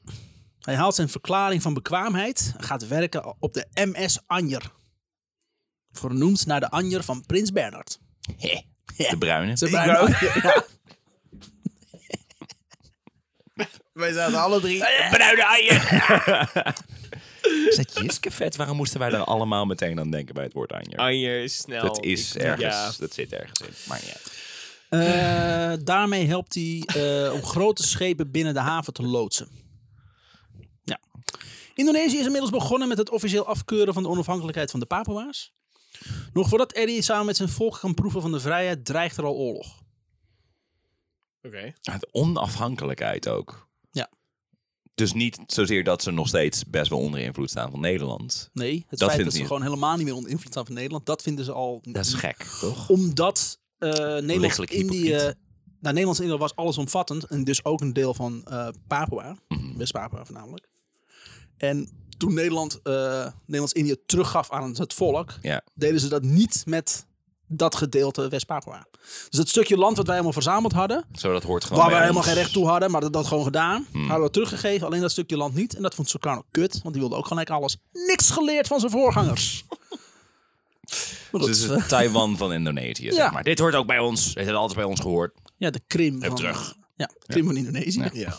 Hij haalt zijn verklaring van bekwaamheid en gaat werken op de MS Anjer. Vernoemd naar de Anjer van Prins Bernhard. Hé, De bruine. Ze bijna- Ja. Wij zaten alle drie... bruine eieren. Is dat Jiske vet? Waarom moesten wij daar allemaal meteen aan denken bij het woord Anja? Anjer, snel. Dat is Ik- ergens. Ja. Dat zit ergens in. Maar ja. Eh, daarmee helpt hij eh, om grote schepen binnen de haven te loodsen. Ja. Indonesië is inmiddels begonnen met het officieel afkeuren van de onafhankelijkheid van de Papua's. Nog voordat Eddie samen met zijn volk kan proeven van de vrijheid, dreigt er al oorlog. Oké. Het onafhankelijkheid ook. Ja. Dus niet zozeer dat ze nog steeds best wel onder invloed staan van Nederland. Nee, het Dat feit vindt dat ze hij- gewoon helemaal niet meer onder invloed staan van Nederland, dat vinden ze al. Dat is gek, toch? Omdat eh, Lichtelijk Nederlands-Indië. hypocriet. Nou, Nederlands-Indië was allesomvattend en dus ook een deel van eh, Papua, Mhm. West-Papua voornamelijk. En toen Nederland, eh, Nederlands-Indië teruggaf aan het volk, Ja. deden ze dat niet met dat gedeelte West-Papua. Dus het stukje land wat wij helemaal verzameld hadden, Zo, Oh, dat hoort gewoon waar we bij helemaal ons. geen recht toe hadden, maar dat dat gewoon gedaan, hadden we teruggegeven. Alleen dat stukje land niet. En dat vond Sukarno kut, want die wilde ook gelijk alles. Niks geleerd van zijn voorgangers. Maar goed, Dus het is Taiwan van Indonesië, zeg maar. Dit hoort ook bij ons. Dit hebben altijd bij ons gehoord. Ja, de Krim van, terug. Ja, de Krim van Indonesië. Ja.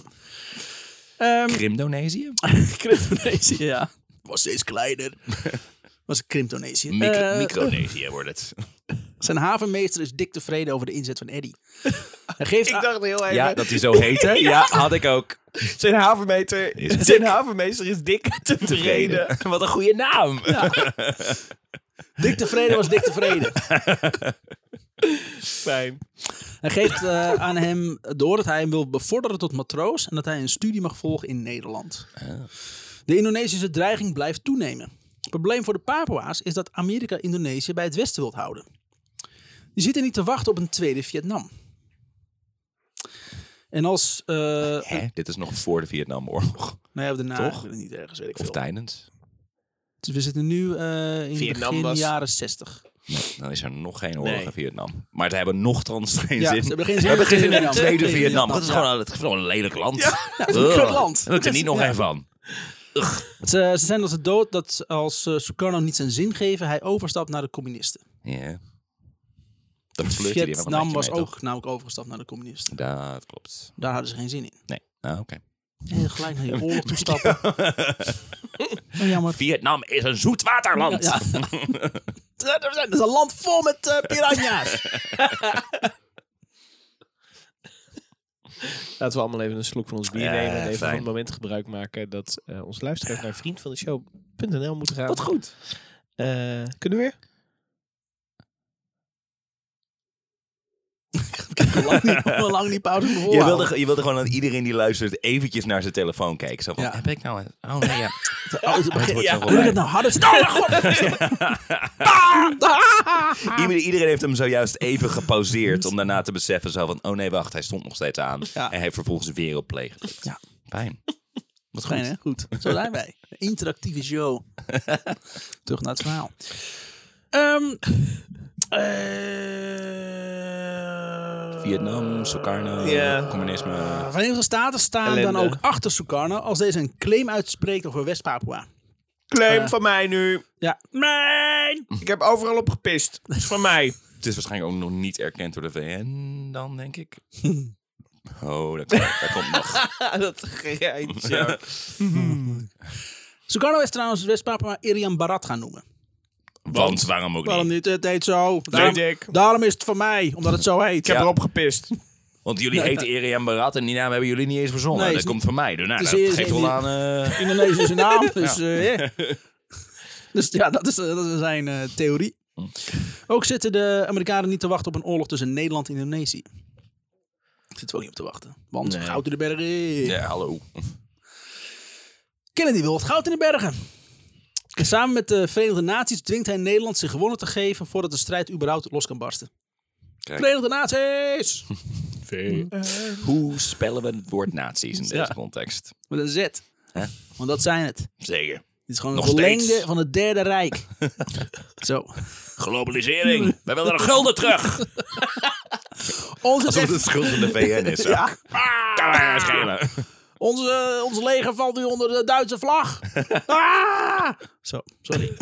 Ehm, Krimdonesië? eh, Krimdonesië, ja. Was steeds kleiner. Was Krimdonesië. Mic- Eh, Micronesië wordt het. zijn havenmeester is dik tevreden over de inzet van Eddie. Hij geeft Ik dacht heel even... Ja, dat die zo heet, hè? Ja, had ik ook. Zijn havenmeester Is dik. is, zijn havenmeester is dik tevreden. Wat een goede naam. dik tevreden was dik tevreden. Fijn. Hij geeft eh, aan hem door dat hij hem wil bevorderen tot matroos en dat hij een studie mag volgen in Nederland. Ah. De Indonesische dreiging blijft toenemen. Het probleem voor de Papua's is dat Amerika Indonesië bij het westen wilt houden. Die zitten niet te wachten op een tweede Vietnam. En als. eh nou Hè? Dit is nog voor de Vietnamoorlog. ja, daarna. Toch? ik weet het Niet ergens, weet ik Of veel. tijdens. Dus we zitten nu eh in Vietnam begin was- jaren 60. Dan is er nog geen oorlog Nee. in Vietnam. Maar ze hebben nog trans geen Ja, zin. ze hebben geen We zin hebben geen in zin in een Vietnam. tweede Tegen Vietnam. Vietnam, Dat is ja. gewoon, een- het is gewoon een lelijk land. het is een Ugh. kut land. En dat is er niet nog Ja. één van. Ze, ze zijn als de dood dat als eh, Sukarno niet zijn zin geven, hij overstapt naar de communisten. Ja. Dat flirt hij er wel een Vietnam beetje was mee, ook toch? namelijk overgestapt naar de communisten. Dat klopt. Daar hadden ze geen zin in. Nee. Ah, oké. En gelijk naar je oorlog toe stappen. Oh, jammer. Vietnam is een zoetwaterland. Ja. Dat is een land vol met eh, piranha's. Laten we allemaal even een slok van ons bier Ja, nemen. En even fijn. van het moment gebruik maken dat eh onze luisteraars naar vriendvandeshow.nl moeten gaan. Wat goed. Eh, kunnen we weer? Hoe lang die- Hoe lang die pauze moet Je volhouden. wilde, je wilde gewoon dat iedereen die luistert eventjes naar zijn telefoon kijkt. Zo van, Ja. heb ik nou... een- Oh nee, ja. Oh, het begint- wordt ja. zo Hoe ik het geluid. nou harder staan? Oh, mijn god! Iedereen, iedereen heeft hem zojuist even gepauzeerd om daarna te beseffen zo van... Oh nee, wacht, hij stond nog steeds aan. Ja. En hij vervolgens weer op play gedrukt. Ja. Fijn. Wat Fijn, hè? goed. Goed. Zo zijn wij. Een interactieve show. Terug naar het verhaal. Ehm, eh, Vietnam, Sukarno, Ja. communisme. De Verenigde Staten staan dan Ellende. ook achter Sukarno als deze een claim uitspreekt over West-Papua. Claim Eh. van mij nu. Ja. Mijn! Ik heb overal op gepist. Dat is van mij. Het is waarschijnlijk ook nog niet erkend door de VN dan, denk ik. Oh, dat komt, dat komt nog. dat gereintje. Sukarno is trouwens West-Papua Irian Barat gaan noemen. Want waarom ook Waarom niet? niet? Het heet zo. Daarom, ik. daarom is het van mij, omdat het zo heet. Ik heb Ja. erop gepist. Want jullie heten Eriam Barat en die naam hebben jullie niet eens verzonnen. Nee, dat is niet- komt van mij. Dus nou, Dus dat hier is geeft een- wel aan... eh, Indonesische naam. Dus ja, dus, ja dat, is, dat is zijn eh, theorie. Ook zitten de Amerikanen niet te wachten op een oorlog tussen Nederland en Indonesië. Zitten we ook niet op te wachten. Want goud in de bergen. Ja, hallo. Kennedy wil het goud in de bergen. En Samen met de Verenigde Naties dwingt hij Nederland zich gewonnen te geven voordat de strijd überhaupt los kan barsten. Kijk. Verenigde Naties! Hoe spellen we het woord nazi's in deze Ja. context? Met een Z. Want dat zijn het. Zeker. Dit is gewoon Nog een verlengde steeds. van het Derde Rijk. Zo. Globalisering. Wij willen een gulden terug. Onze Alsof het de schuld van de VN is. Ja. Kan mij nou schelen. Onze, ons leger valt nu onder de Duitse vlag. Ah! Zo, sorry.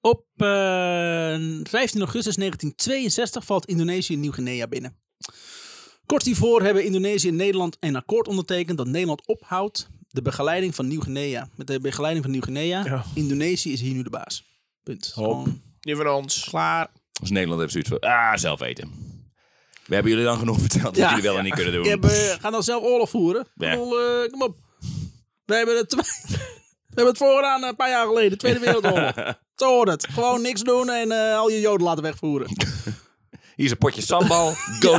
Op eh, 15 augustus 1962 valt Indonesië Nieuw-Guinea binnen. Kort hiervoor hebben Indonesië en Nederland een akkoord ondertekend dat Nederland ophoudt de begeleiding van Nieuw-Guinea. Met de begeleiding van Nieuw-Guinea. Ja. Indonesië is hier nu de baas. Punt. Hop. Gewoon Nu van ons. klaar. Dus Nederland heeft zoiets van, ah, zelf eten. We hebben jullie dan genoeg verteld Ja. wat jullie wel en niet kunnen doen. Ik heb, eh, gaan dan zelf oorlog voeren. Ik Ja. bedoel, eh, kom op. We hebben het, we hebben het voorgedaan een paar jaar geleden, Tweede Wereldoorlog. Zo hoort het. Gewoon niks doen en eh, al je joden laten wegvoeren. Hier is een potje sambal. Go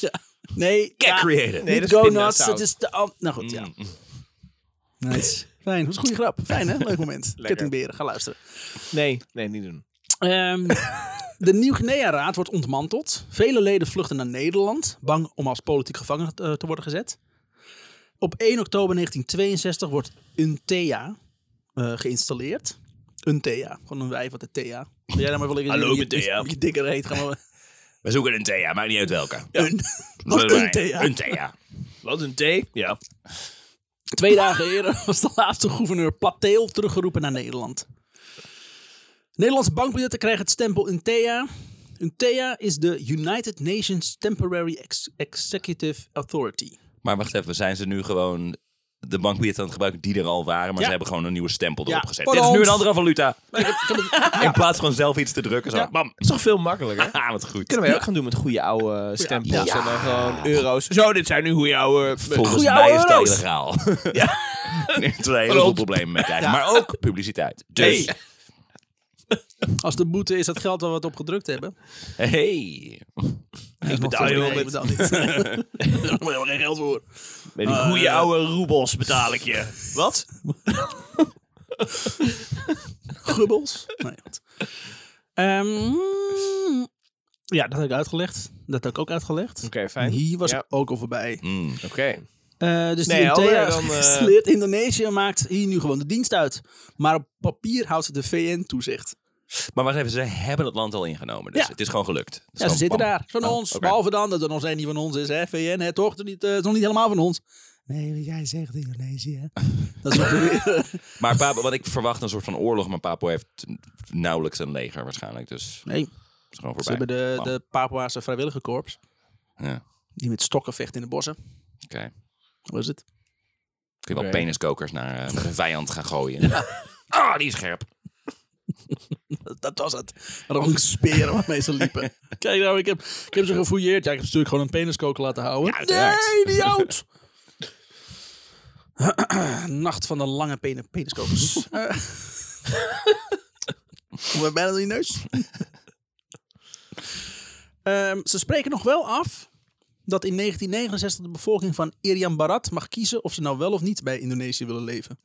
Ja. Nee, Get ja, creative. Nee, dat niet is go pindasaus. nuts. Het is de an- Nou goed, ja. Mm. Nice. Fijn, dat was een goede grap. Fijn hè, leuk moment. Kettingberen, ga luisteren. Nee, nee, niet doen. Ehm, de Nieuw-Guinea-raad wordt ontmanteld. Vele leden vluchten naar Nederland, bang om als politiek gevangen eh, te worden gezet. Op 1 oktober 1962 wordt Untea eh, geïnstalleerd. Untea, gewoon een wijf wat de Thea. Wil jij daar maar wel lekker Hallo, in je, ik ben je, Thea. je dikke reet gaan we- We zoeken een thea, maakt niet uit welke. Un- Zullen Wat wij- Oh, een Thea. Een thea. Wat een thee? Ja. Twee dagen eerder was de laatste gouverneur Plateel teruggeroepen naar Nederland. Nederlandse bankbiljetten krijgen het stempel Untea. Untea is de United Nations Temporary Ex- Executive Authority. Maar wacht even, zijn ze nu gewoon de bankbiljet aan het gebruiken die er al waren, maar Ja. ze hebben gewoon een nieuwe stempel Ja. erop gezet. Voor Dit is nu ons. een andere valuta. In plaats van zelf iets te drukken, zo, Ja. bam. is toch veel makkelijker? Ah, wat goed. Kunnen wij ook gaan doen met goede oude eh, stempels Ja. en dan gewoon euro's. Zo, dit zijn nu goede oude... Volgens Goeie mij is het oude euro's. illegaal. Ja. Nee, er zijn heel veel Klopt. problemen mee krijgen. Maar ook publiciteit. Dus, Als de boete is dat geld waar we het op gedrukt hebben. hey. Ik betaal je wel met- betaal niet. Daar hebben we geen geld voor. Met die goede oude roebels betaal ik je. Wat? Gubbels? Nee, goed. Ehm, ja, dat heb ik uitgelegd. Dat heb ik ook uitgelegd. Oké, fijn. Hier was Ja. ik ook al voorbij. Mm. Oké. Eh, dus Nee, die helder Thea dan, eh. gesleerd Indonesië maakt hier nu gewoon de dienst uit. Maar op papier houdt ze de VN toezicht. Maar wacht even, ze hebben het land al ingenomen. Dus Ja. het is gewoon gelukt. Het is Ja, ze gewoon zitten bam. daar. Van Oh, ons. oké. Behalve dan dat het nog steeds niet van ons is. Hè? VN, hè, toch? Het is niet, eh, het is nog niet helemaal van ons. Nee, wat jij zegt Indonesië. Dat is ook weer... Maar Papua, wat ik verwacht een soort van oorlog, maar Papua heeft nauwelijks een leger waarschijnlijk. Dus Nee, het is gewoon ze voorbij. hebben de, Bam. de Papuaanse vrijwilligerkorps. Ja, oké. Die met stokken vecht in de bossen. Wat is het? Kun je wel Oké. peniskokers naar eh, naar een vijand gaan gooien. Ah, die is scherp. Dat, dat was het. Rond speren waarmee ze liepen. Kijk nou, ik heb, ik heb ze gefouilleerd. Ja, ik heb ze natuurlijk gewoon een peniskoker laten houden. uiteraard. nee, die oud! Nacht van de lange pen peniskokers. Eh. Hoe ben bijna door je neus? Ehm, ze spreken nog wel af dat in 1969 de bevolking van Irian Barat mag kiezen of ze nou wel of niet bij Indonesië willen leven.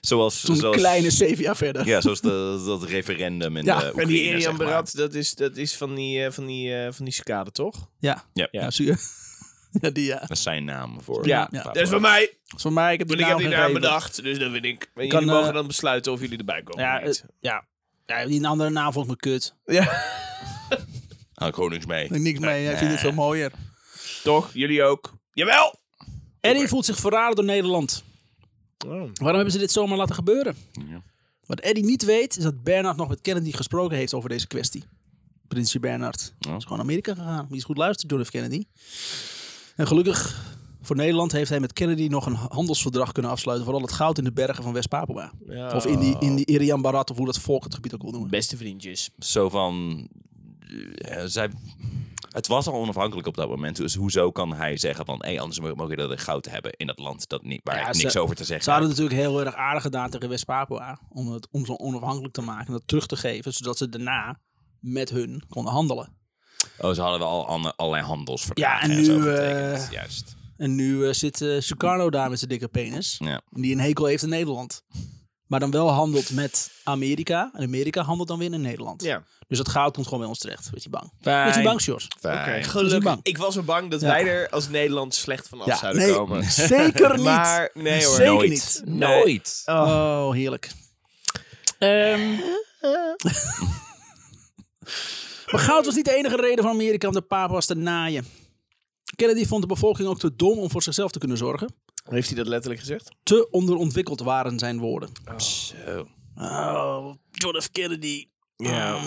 zoals, Toen zoals, kleine zeven jaar verder. Ja, zoals de, dat referendum in Ja, de en Oekraïne, En die Irian zeg maar. Barat, dat is, dat is van die, eh, van die, eh, van die cicade, toch? Ja, Ja. ja, zie je. Ja, die ja. Dat is zijn naam voor Ja, Papua. Dat is van mij. Dat is voor mij, ik heb die Want ik heb naam die naam gegeven. bedacht, dus dat vind ik. En jullie kan, eh, mogen dan besluiten of jullie erbij komen. Ja, of niet. eh, ja. ja, die andere naam vond ik me kut. Ah, konings mee. Ik niks mee, hij vindt het veel mooier. toch? Jullie ook? Jawel! Eddie voelt zich verraden door Nederland. Waarom hebben ze dit zomaar laten gebeuren? Ja. Wat Eddie niet weet, is dat Bernard nog met Kennedy gesproken heeft over deze kwestie. Prinsje Bernard. Ja. is gewoon naar Amerika gegaan. Wie is goed luistert, John F. Kennedy. En gelukkig voor Nederland heeft hij met Kennedy nog een handelsverdrag kunnen afsluiten. Vooral het goud in de bergen van West-Papua. Of in die, in die Irian Barat, of hoe dat volk het gebied ook wil noemen. Beste vriendjes. Zo van... eh, zij, het was al onafhankelijk op dat moment. Dus hoezo kan hij zeggen van... Hé, anders mo- mogen jullie dat goud hebben in dat land dat niet, waar Ja, ik ze- niks over te zeggen Ze hadden heb. natuurlijk heel erg aardig gedaan tegen West-Papua. Om, het- om ze onafhankelijk te maken en dat terug te geven. Zodat ze daarna met hun konden handelen. Oh, ze hadden wel ander- allerlei handelsverdragen Ja, en zo nu, getekend. eh, Juist. En nu eh, zit eh, Sukarno daar met zijn dikke penis. Ja. Die een hekel heeft in Nederland. Maar dan wel handelt met Amerika. En Amerika handelt dan weer in Nederland. Ja. Dus dat goud komt gewoon bij ons terecht. Weet je bang. Fijn. Weet je bang, Sjors? Fijn. Was je Gelukkig. bang? Ik was er bang dat Ja. wij er als Nederland slecht van af zouden nee, komen. zeker niet. Maar nee hoor. Zeker Nooit. niet. Nee. Nooit. Oh, heerlijk. Ehm. maar goud was niet de enige reden van Amerika om de papa's te naaien. Kennedy vond de bevolking ook te dom om voor zichzelf te kunnen zorgen. Heeft hij dat letterlijk gezegd? Te onderontwikkeld waren zijn woorden. Zo. Oh, John F. Kennedy. Mm. Ja.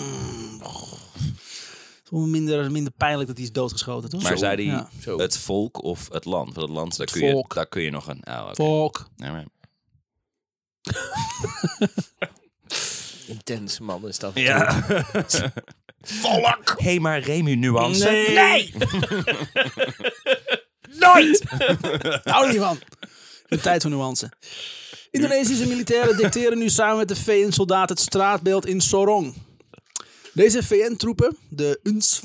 Toch minder, minder pijnlijk dat hij is doodgeschoten, toch? Maar zei hij Ja. Zo. het volk of het land? Want het land, daar, kun je, volk. daar kun je nog een... Oh, oké. Volk. Ja, maar- Intens man is dat. Ja. Volk! Hé, maar Remu nuance. Nee. Nooit! Hou er niet van. De tijd van nuance. Indonesische militairen dicteren nu samen met de VN-soldaten het straatbeeld in Sorong. Deze VN-troepen, de UNS...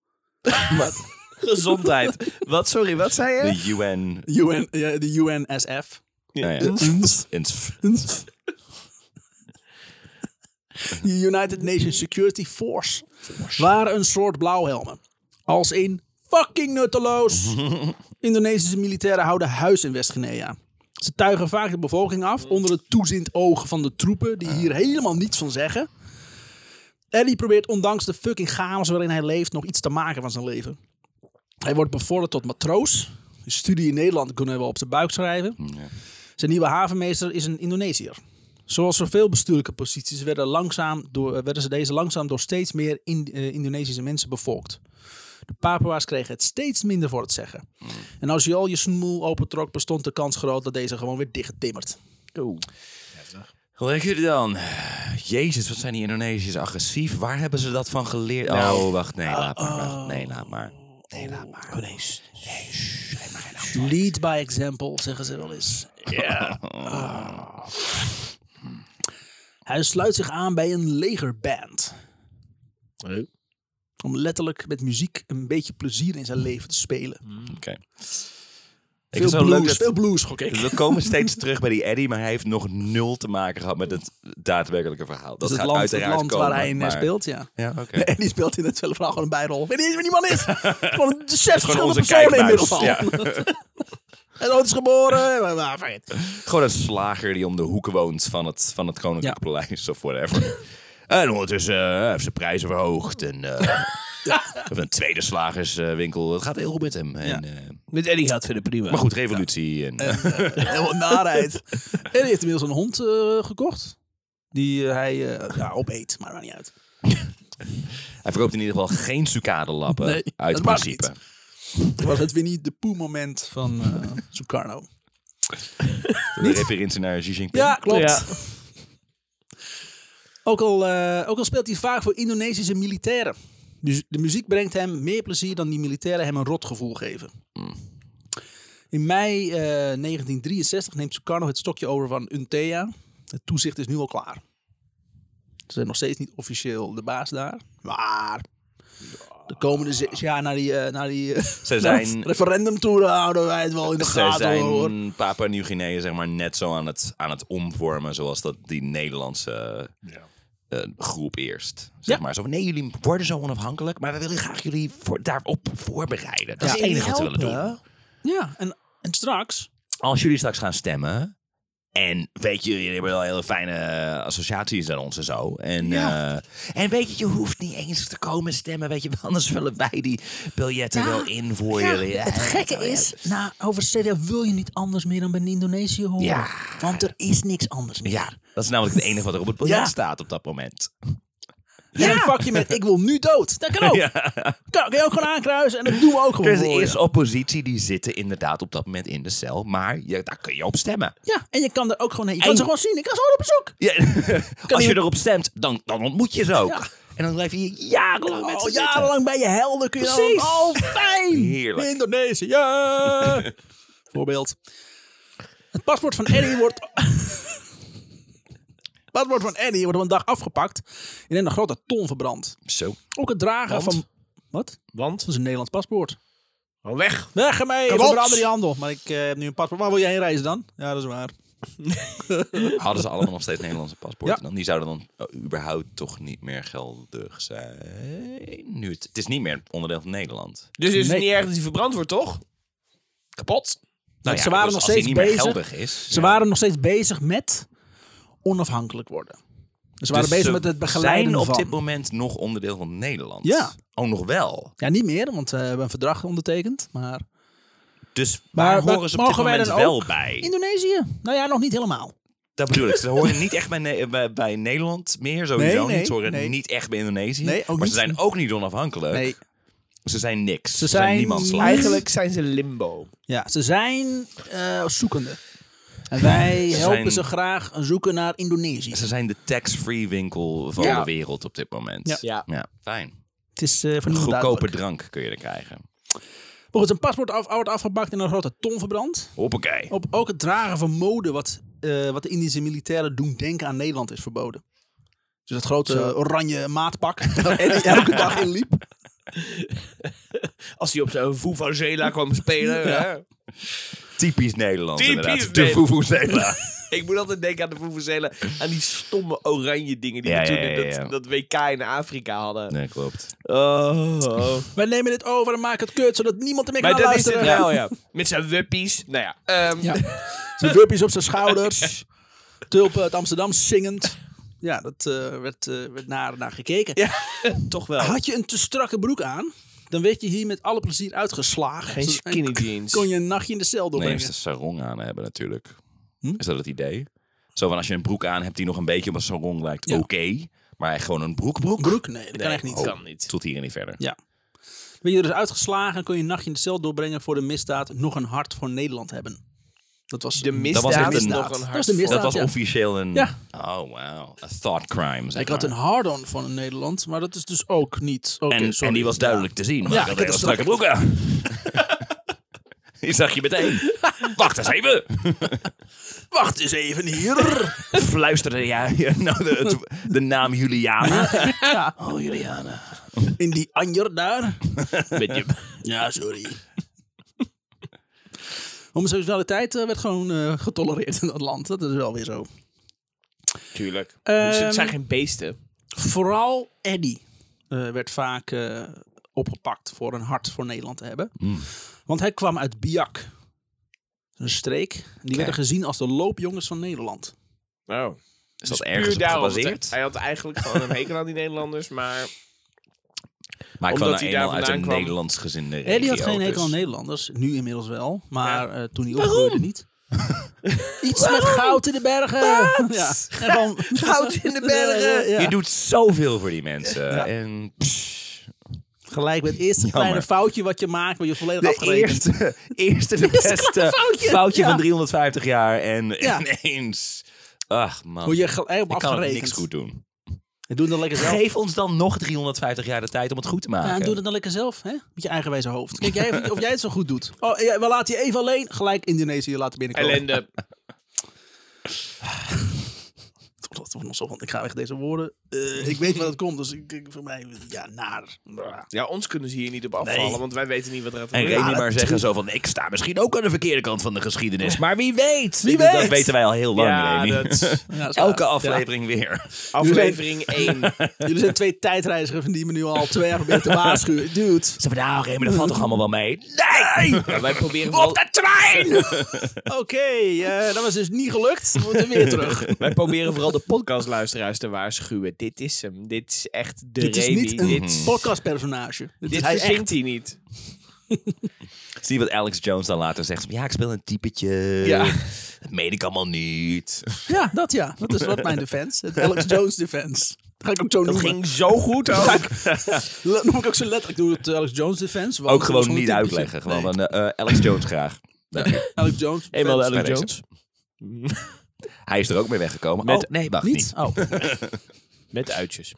Wat? Gezondheid. Wat, sorry, wat zei je? De UN... UN, ja, de UNSF. Nou ja. UNS. Ins- UNS. De United Nations Security Force. Waren een soort blauwhelmen. Als in fucking nutteloos. Indonesische militairen houden huis in West-Guinea. Ze tuigen vaak de bevolking af onder het toeziend oog van de troepen die hier helemaal niets van zeggen. Eddie probeert ondanks de fucking chaos waarin hij leeft nog iets te maken van zijn leven. Hij wordt bevorderd tot matroos. Een studie in Nederland kunnen we wel op zijn buik schrijven. Zijn nieuwe havenmeester is een Indonesiër. Zoals zoveel bestuurlijke posities werden, langzaam door, eh, werden ze deze langzaam door steeds meer In- eh, Indonesische mensen bevolkt. De Papua's kregen het steeds minder voor het zeggen. Mm. En als je al je smoel opentrok, bestond de kans groot dat deze gewoon weer dichtgetimmerd. Lekker dan. Jezus, wat zijn die Indonesiërs agressief. Waar hebben ze dat van geleerd? oh, wacht. Nee, laat maar. wacht. Nee, laat maar. Lead by example, zeggen ze wel eens. Ah. Hij sluit zich aan bij een legerband. Om letterlijk met muziek een beetje plezier in zijn leven te spelen. Oké. Ik Veel vind het zo blues, leuk dat... veel blues, gok ik. We komen steeds terug bij die Eddie, maar hij heeft nog nul te maken gehad met het daadwerkelijke verhaal. Dat Dat is gaat het land, het uiteraard land komen, waar hij in eh, maar- speelt, ja. Ja, oké. En die speelt in het hele verhaal gewoon een bijrol. Ik weet niet eens wie die man is. Gewoon zes Gewoon verschillende onze personen inmiddels kijkbuis. al. Ja. Hij is ooit is geboren. en- maar- maar- Gewoon een slager die om de hoek woont van het, van het Koninklijk Paleis of whatever. En ondertussen eh, heeft zijn prijzen verhoogd. En eh, heeft een tweede slagerswinkel. Het gaat heel goed met hem. En, eh, Met Eddie gaat verder prima. Maar goed, revolutie. En, eh, Eh. Helemaal naarheid. En hij heeft inmiddels een hond eh, gekocht. Die eh, hij eh, ja, opeet, maar maakt niet uit. hij verkoopt in ieder geval geen sucadelappen Nee, uit dat mag principe. Dat was het Winnie de Pooh moment van eh Sukarno. Een referentie naar Xi Jinping. Ja, klopt. Ja. Ook, al, eh, ook al speelt hij vaak voor Indonesische militairen. Dus de muziek brengt hem meer plezier dan die militairen hem een rotgevoel geven. Mm. In mei eh, 1963 neemt Sukarno het stokje over van Untea. Het toezicht is nu al klaar. Ze zijn nog steeds niet officieel de baas daar. Maar de komende zes jaar naar die, eh, naar die eh, Ze naar het zijn- referendum toe daar houden wij het wel in de Zij gaten hoor. zijn Papua Nieuw-Guinea zeg maar net zo aan het, aan het omvormen zoals dat die Nederlandse eh, groep eerst. Zeg Ja. maar zo van, nee, jullie worden zo onafhankelijk, maar we willen graag jullie voor, daarop voorbereiden. Dat is het enige wat we willen doen. Ja, en, en straks Als jullie straks gaan stemmen, en weet je, jullie hebben wel hele fijne eh, associaties aan ons en zo. En, eh, en weet je, je hoeft niet eens te komen stemmen, weet je, want anders vullen wij die biljetten wel in voor jullie. Het gekke is, nou, over CDA wil je niet anders meer dan bij Indonesië horen. Ja. Want er is niks anders meer. Ja, dat is namelijk het enige wat er op het biljet Ja. staat op dat moment. En een vakje met ik wil nu dood. Dat kan ook. Kan, kan je ook gewoon aankruisen en dat doen we ook gewoon Dus er voor je. is oppositie, die zitten inderdaad op dat moment in de cel, maar je, daar kun je op stemmen. Ja, en je kan er ook gewoon heen. Je En- kan ze gewoon zien. Ik kan ze gewoon op bezoek. Ja, als je iemand- erop stemt, dan, dan ontmoet je ze ook. Ja. En dan blijf je hier jarenlang met Oh, Al ze jarenlang bij je helden kun je Precies. dan... Oh, fijn. Heerlijk. Indonesië. Voorbeeld. Het paspoort van Eddie wordt... Het paspoort van Eddie wordt op een dag afgepakt en in een grote ton verbrand. zitten. Zo. Ook het dragen Want? van... Wat? Want? Dat is een Nederlands paspoort. Gewoon weg. Weg ermee, Kabot. verander die handel. Maar ik eh, heb nu een paspoort. Waar wil jij heen reizen dan? Ja, dat is Nou waar. Hadden ze allemaal nog steeds Nederlandse paspoorten Ja. dan? Die zouden dan eh, überhaupt toch niet meer geldig zijn. Nu het, het is niet meer onderdeel van Nederland. Dus is Nee. het niet erg dat hij verbrand wordt, toch? Kapot. Nou ze waren dus nog als die steeds niet bezig. meer geldig is. Ze waren nog steeds bezig met onafhankelijk worden. Ze waren Dus bezig ze met het begeleiden zijn op van. dit moment nog onderdeel van Nederland. Ja. Oh, nog wel. Ja, niet meer, want eh, we hebben een verdrag ondertekend. Maar, Dus maar waar maar horen ze op dit mogen wij moment dan wel ook bij? Indonesië? Nou ja, nog niet helemaal. Dat bedoel ik. Ze horen niet echt bij, Ne- bij, bij Nederland meer, sowieso Nee, nee, niet. Ze horen nee. niet echt bij Indonesië. Nee, ook maar ze niet. zijn ook niet onafhankelijk. Nee. Ze zijn niks. Ze, zijn, zijn niemands niet- land. Eigenlijk zijn ze limbo. Ja, ze zijn eh, zoekende. En wij Ze helpen zijn- ze graag zoeken naar Indonesië. Ze zijn de tax-free winkel van Ja. de wereld op dit moment. Ja. Ja. fijn. Het is eh, voor niemand Goedkope duidelijk. drank kun je er krijgen. Maar goed, een paspoort af, wordt afgepakt en een grote ton verbrand. Hoppakee. Op ook het dragen van mode, wat, eh, wat de Indische militairen doen denken aan Nederland, is verboden. Dus dat grote oranje maatpak dat Eddie elke dag in liep. Als hij op zijn Vuvuzela kwam spelen. hè? Typisch Nederland Typisch inderdaad. De Nederland. Vuvuzela. Ik moet altijd denken aan de Vuvuzela. Aan die stomme oranje dingen die Ja, we toen ja, ja, in ja. dat, dat WK in Afrika hadden. Nee, klopt. Oh, oh. Wij nemen dit over en maken het kut, zodat niemand ermee Maar kan dat is het luisteren. wel, ja. Met zijn wuppies. Nou ja. ehm, Ja. Zijn wurpjes op zijn schouders. Tulpen uit Amsterdam zingend. Ja, dat eh, werd, eh, werd naar, naar gekeken. Toch wel. Had je een te strakke broek aan, dan werd je hier met alle plezier uitgeslagen. Geen Dus- en skinny jeans. kon je een nachtje in de cel Nee, doorbrengen. ze sarong aan hebben natuurlijk. Hm? Is dat het idee? Zo van als je een broek aan hebt die nog een beetje op een sarong lijkt, Ja. oké. Maar gewoon een broekbroek. broek? Nee, dat kan echt niet. Oh, kan niet. Tot hier en niet verder. Ja. Ben je er dus uitgeslagen en kon je een nachtje in de cel doorbrengen voor de misdaad nog een hart voor Nederland hebben. Dat was De Dat was misdaad echt is een- nog Dat een was hard de misdaad. Dat was ja. officieel een... Ja. Oh, wow. A thought crime, zeg Ik had maar. een hard-on van Nederland, maar dat is dus ook niet. Oké, en, sorry. en die was duidelijk te zien, maar Ja, ik had ik een had hele een strakke broek aan. die zag je meteen. Wacht eens even. Wacht eens even hier. Fluisterde jij nou de, het- de naam Juliana? ja, Oh, Juliana. in die anjer daar. Met je... Ja, sorry. Homoseksualiteit eh, werd gewoon eh, getolereerd in dat land. Dat is wel weer zo. Tuurlijk. Ehm, het zijn geen beesten. Vooral Eddie eh, werd vaak eh, opgepakt voor een hart voor Nederland te hebben. Hmm. Want hij kwam uit Biak. Een streek. Die werden gezien als de loopjongens van Nederland. Oh. Is dat ergens op daarop. gebaseerd? Oh. Hij had eigenlijk gewoon een hekel aan die Nederlanders, maar... Maar ik Omdat kwam hij nou eenmaal daar uit vandaan een kwam. Nederlands gezin. dus Nee, die had geen hekel aan Nederlanders. Nu inmiddels wel. Maar eh, toen hij opgroeide niet. Iets met goud in de bergen. Ja, en gewoon- Goud in de Ja, bergen. ja. Je doet zoveel voor die mensen. En pff, Gelijk met het eerste kleine foutje wat je maakt. Word je volledig de afgerekend. eerste, eerste de beste foutje. foutje, Ja. van 350 jaar. En Ja. ineens... Ach man, Word je gelijk op ik kan het afgerekend. niks goed doen. En doe het dan lekker zelf. Geef ons dan nog 350 jaar de tijd om het goed te maken. Ja, en doe het dan lekker zelf, hè? Met je eigenwijze hoofd. Kijk jij of, of jij het zo goed doet. Oh, ja, we laten je even alleen. Gelijk Indonesië laten binnenkomen. Ellende. Toch, dat wordt nog zo van, ik ga weg deze woorden. Eh, ik weet waar dat komt, dus ik, ik- voor mij, ja, naar. Ja, ons kunnen ze hier niet op afvallen, Nee. want wij weten niet wat er gaat En gebeuren. Remy dat maar zeggen zo van, ik sta misschien ook aan de verkeerde kant van de geschiedenis. Maar wie weet. Wie Dat weet. weten wij al heel lang, Ja, Remy. dat- Ja, dat is Elke waar. aflevering weer. Ja. Aflevering 1. Ja. Jullie zijn twee tijdreizigers van die me nu al twee jaar proberen te waarschuwen. Dude. Ze van, nou Remy, dat valt toch allemaal wel mee? Nee! wij proberen Op wel, de trein! Oké, eh, dat was dus niet gelukt. We moeten weer terug. wij proberen vooral de podcastluisteraars te waarschuwen. Dit is hem. Dit is echt de Dit is Remy. niet een Dit, podcastpersonage. Dit is dit hij echt. verzinkt hij niet. Zie je wat Alex Jones dan later zegt? Ja, ik speel een typetje. Ja. Dat meen ik allemaal niet. Ja, dat ja. Dat is wat mijn defense. Het Alex Jones defense. Dat ga ik ook zo Dat noemen. ging zo goed ook. Le- Noem ik ook zo letterlijk. Ik doe het eh, Alex Jones defense. want Ook het gewoon was niet een typisch- uitleggen. Nee, Gewoon van, eh, eh, Alex Jones graag. Dank je. Alex Jones Eenmaal de defense. Alex Bij Jones. Hij is er ook mee weggekomen. Met- oh, nee, wacht niet. Niet? Oh. Met uitjes.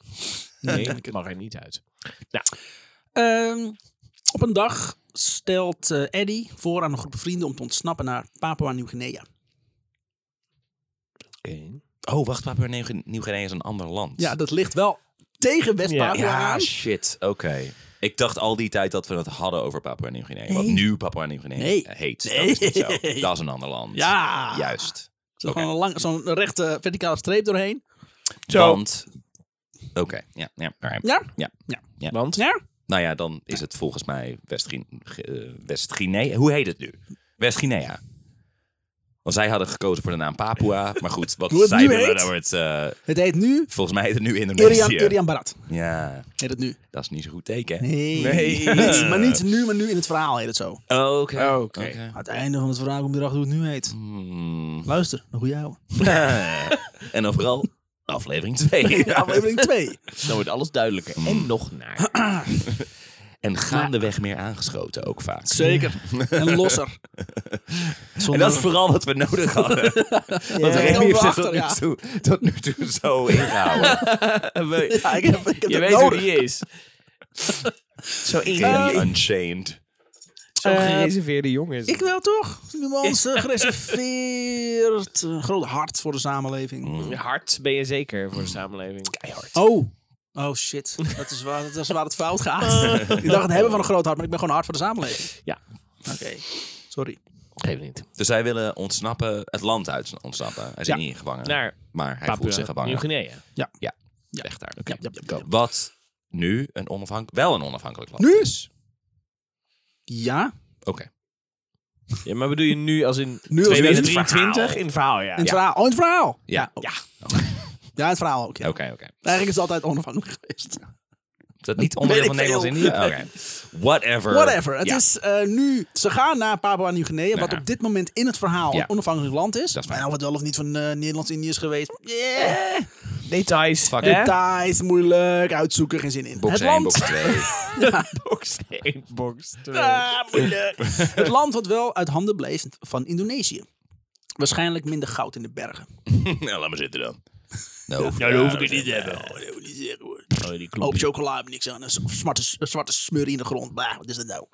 Nee, ik mag er niet uit. Ehm, op een dag stelt eh Eddie voor aan een groep vrienden om te ontsnappen naar Papua Nieuw-Guinea. Oh, wacht, Papua Nieuw- Nieuw-Guinea is een ander land. Ja, dat ligt wel tegen West-Papua Ja, aan. shit. Oké. Ik dacht al die tijd dat we het hadden over Papua Nieuw-Guinea. Wat Nee. nu Papua Nieuw-Guinea Nee. heet. Nee. Dat, is niet zo. dat is een ander land. Ja. Juist. Zo Oké. gewoon een lang- Zo'n rechte verticale streep doorheen. Zo. Want... Oké, ja, ja, alright. Ja? Ja. Ja. Ja. Want? Ja? Nou ja, dan is het volgens mij West-Guin- G- eh, West-Guinea. Hoe heet het nu? West-Guinea. Want zij hadden gekozen voor de naam Papua. Maar goed, wat Hoe het zij nu willen, heet? dan wordt... eh, Het heet nu volgens mij heet het nu Irian, Indonesië. Irian Barat. Ja, Heet het nu. dat is niet zo'n goed teken. hè? Nee. Niet, maar niet nu, maar nu in het verhaal heet het zo. Oké. Oh, Oh, Oké. Aan het einde van het verhaal komt erachter hoe het nu heet. Hmm. Luister, een goede ouwe. en overal aflevering 2. Aflevering 2. Dan wordt alles duidelijker. Mm. En nog naar. En gaandeweg meer aangeschoten ook vaak. Zeker. En losser. En dat is vooral wat we nodig hadden. Want Heel Remy heeft zich achter, tot, ja. nu toe- tot nu toe zo ingehouden. Ja, ik heb, ik heb dat Je weet hoe nodig. die is. Zo Remy ingereserveerde Unchained. gereserveerde jongens. Eh, Ik wel toch? Nuance, gereserveerd. Een groot hart voor de samenleving. Mm. Hmm. Hard ben je zeker Mm. voor de samenleving. Oh. Oh shit, dat is waar, dat is waar het fout gaat. ik dacht het hebben van een groot hart, maar ik ben gewoon hard voor de samenleving. Ja. Oké, sorry. Geef niet. Dus zij willen ontsnappen, het land uit ontsnappen. Hij is Ja. niet in gevangen. Naar maar hij voelt zich Papua gevangen. Nieuw-Guinea. Ja. Echt daar. Ja, ja, ja. Wat nu een onafhank wel een onafhankelijk land Nu? is. Ja? Oké. Ja, maar bedoel je nu als in Nu als in het 2023 in het verhaal, ja. In het verhaal. Oh, in het verhaal? Ja. Ja, Ja, in het verhaal ook, ja. Oké, oké. Eigenlijk is het altijd onafhankelijk geweest. Is dat niet onderdeel van Weet ik veel. Nederlands-Indië? Oké. Whatever. Whatever. Het Ja. is eh, nu. Ze gaan naar Papua Nieuw-Guinea, wat Ja. op dit moment in het verhaal Ja. een onafhankelijk land is. Dat is maar waar. Eh? nou, wat wel of niet van eh, Nederlands-Indië is geweest. Yeah. Details. Fuck hè? it. Details, moeilijk, uitzoeken, geen zin in. Box het 1, land, box 2. Box 1, box 2. Ah, moeilijk. het land wat wel uit handen bleef van Indonesië. Waarschijnlijk minder goud in de bergen. nou, laat maar zitten dan. Nou, Oh, hoef, Nou, dat hoef ik het niet te hebben. Hoop chocola, heb ik niks aan. Een zwarte, een zwarte smurrie in de grond. Bah, wat is dat nou?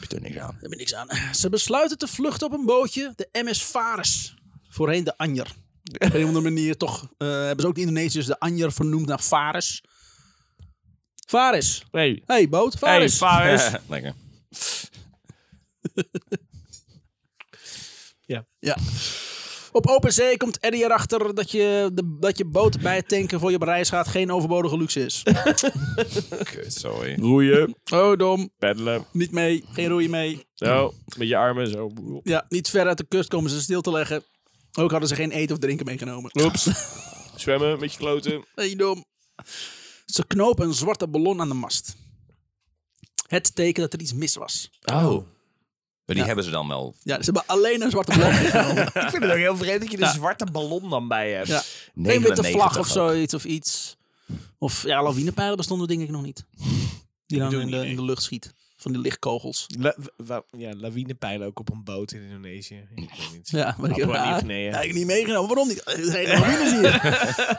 Heb je er niks aan. Daar heb ik niks aan. Ze besluiten te vluchten op een bootje, de MS Fares. Voorheen de Anjer. Op een of andere manier toch eh, hebben ze ook de Indonesiërs de Anjer vernoemd naar Fares. Fares. Hey, Hey, boot. hey, Fares. Fares. Lekker. ja. Op open zee komt Eddie erachter dat je, de, dat je boot bij het tanken voor je op reis gaat geen overbodige luxe is. Kut, sorry. Roeien, Oh, dom. peddelen. Niet mee. Geen roeien mee. Zo, met je armen zo. Ja, niet ver uit de kust komen ze stil te leggen. Ook hadden ze geen eten of drinken meegenomen. Oeps. Zwemmen met je kloten. Hey, dom. Ze knopen een zwarte ballon aan de mast. Het teken dat er iets mis was. Oh. Maar die hebben ze dan wel. Ja, ze hebben alleen een zwarte ballon meegenomen. Ik vind het ook heel vreemd dat je de zwarte ballon dan bij hebt. Ja. Een 99 witte vlag ook. of zoiets of iets. Of ja, lawinepijlen bestonden denk ik nog niet. Die dan in de, in de lucht schiet. Van die lichtkogels. La- w- wa- ja, lawinepijlen ook op een boot in Indonesië. Ik weet niet. Ja, maar ik heb Papua ja, Nieuw-Guinea. ja, ik heb niet meegenomen. Waarom niet? Er zijn geen lawines hier.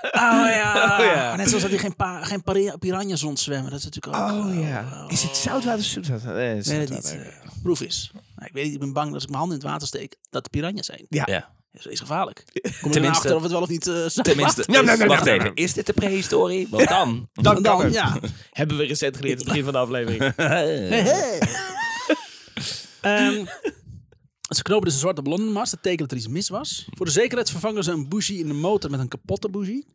Oh ja. Oh, ja. Net zoals dat hier geen, pa, geen pari- piranha's rondzwemmen. Dat is natuurlijk ook... Oh ja. Is het zoutwater of zoetwater? Nee, het is Ik weet het niet. zoetwater. Eh, Proef is. ik weet niet, ik ben bang dat als ik mijn handen in het water steek, dat de piranha's zijn. Ja. Ja. Dat is gevaarlijk. Kom je Tenminste- nou achter of het wel of niet eh, zout Tenminste, Nou, nou, nou, wacht nou, nou, even. Is dit de prehistorie? Want dan. was. Dan En kan Dan, het. ja. Hebben we recent geleerd aan het begin van de aflevering. Ehm, ze knopen dus een zwarte ballon in de mast. Dat tekent dat er iets mis was. Voor de zekerheid vervangen ze een bougie in de motor met een kapotte bougie.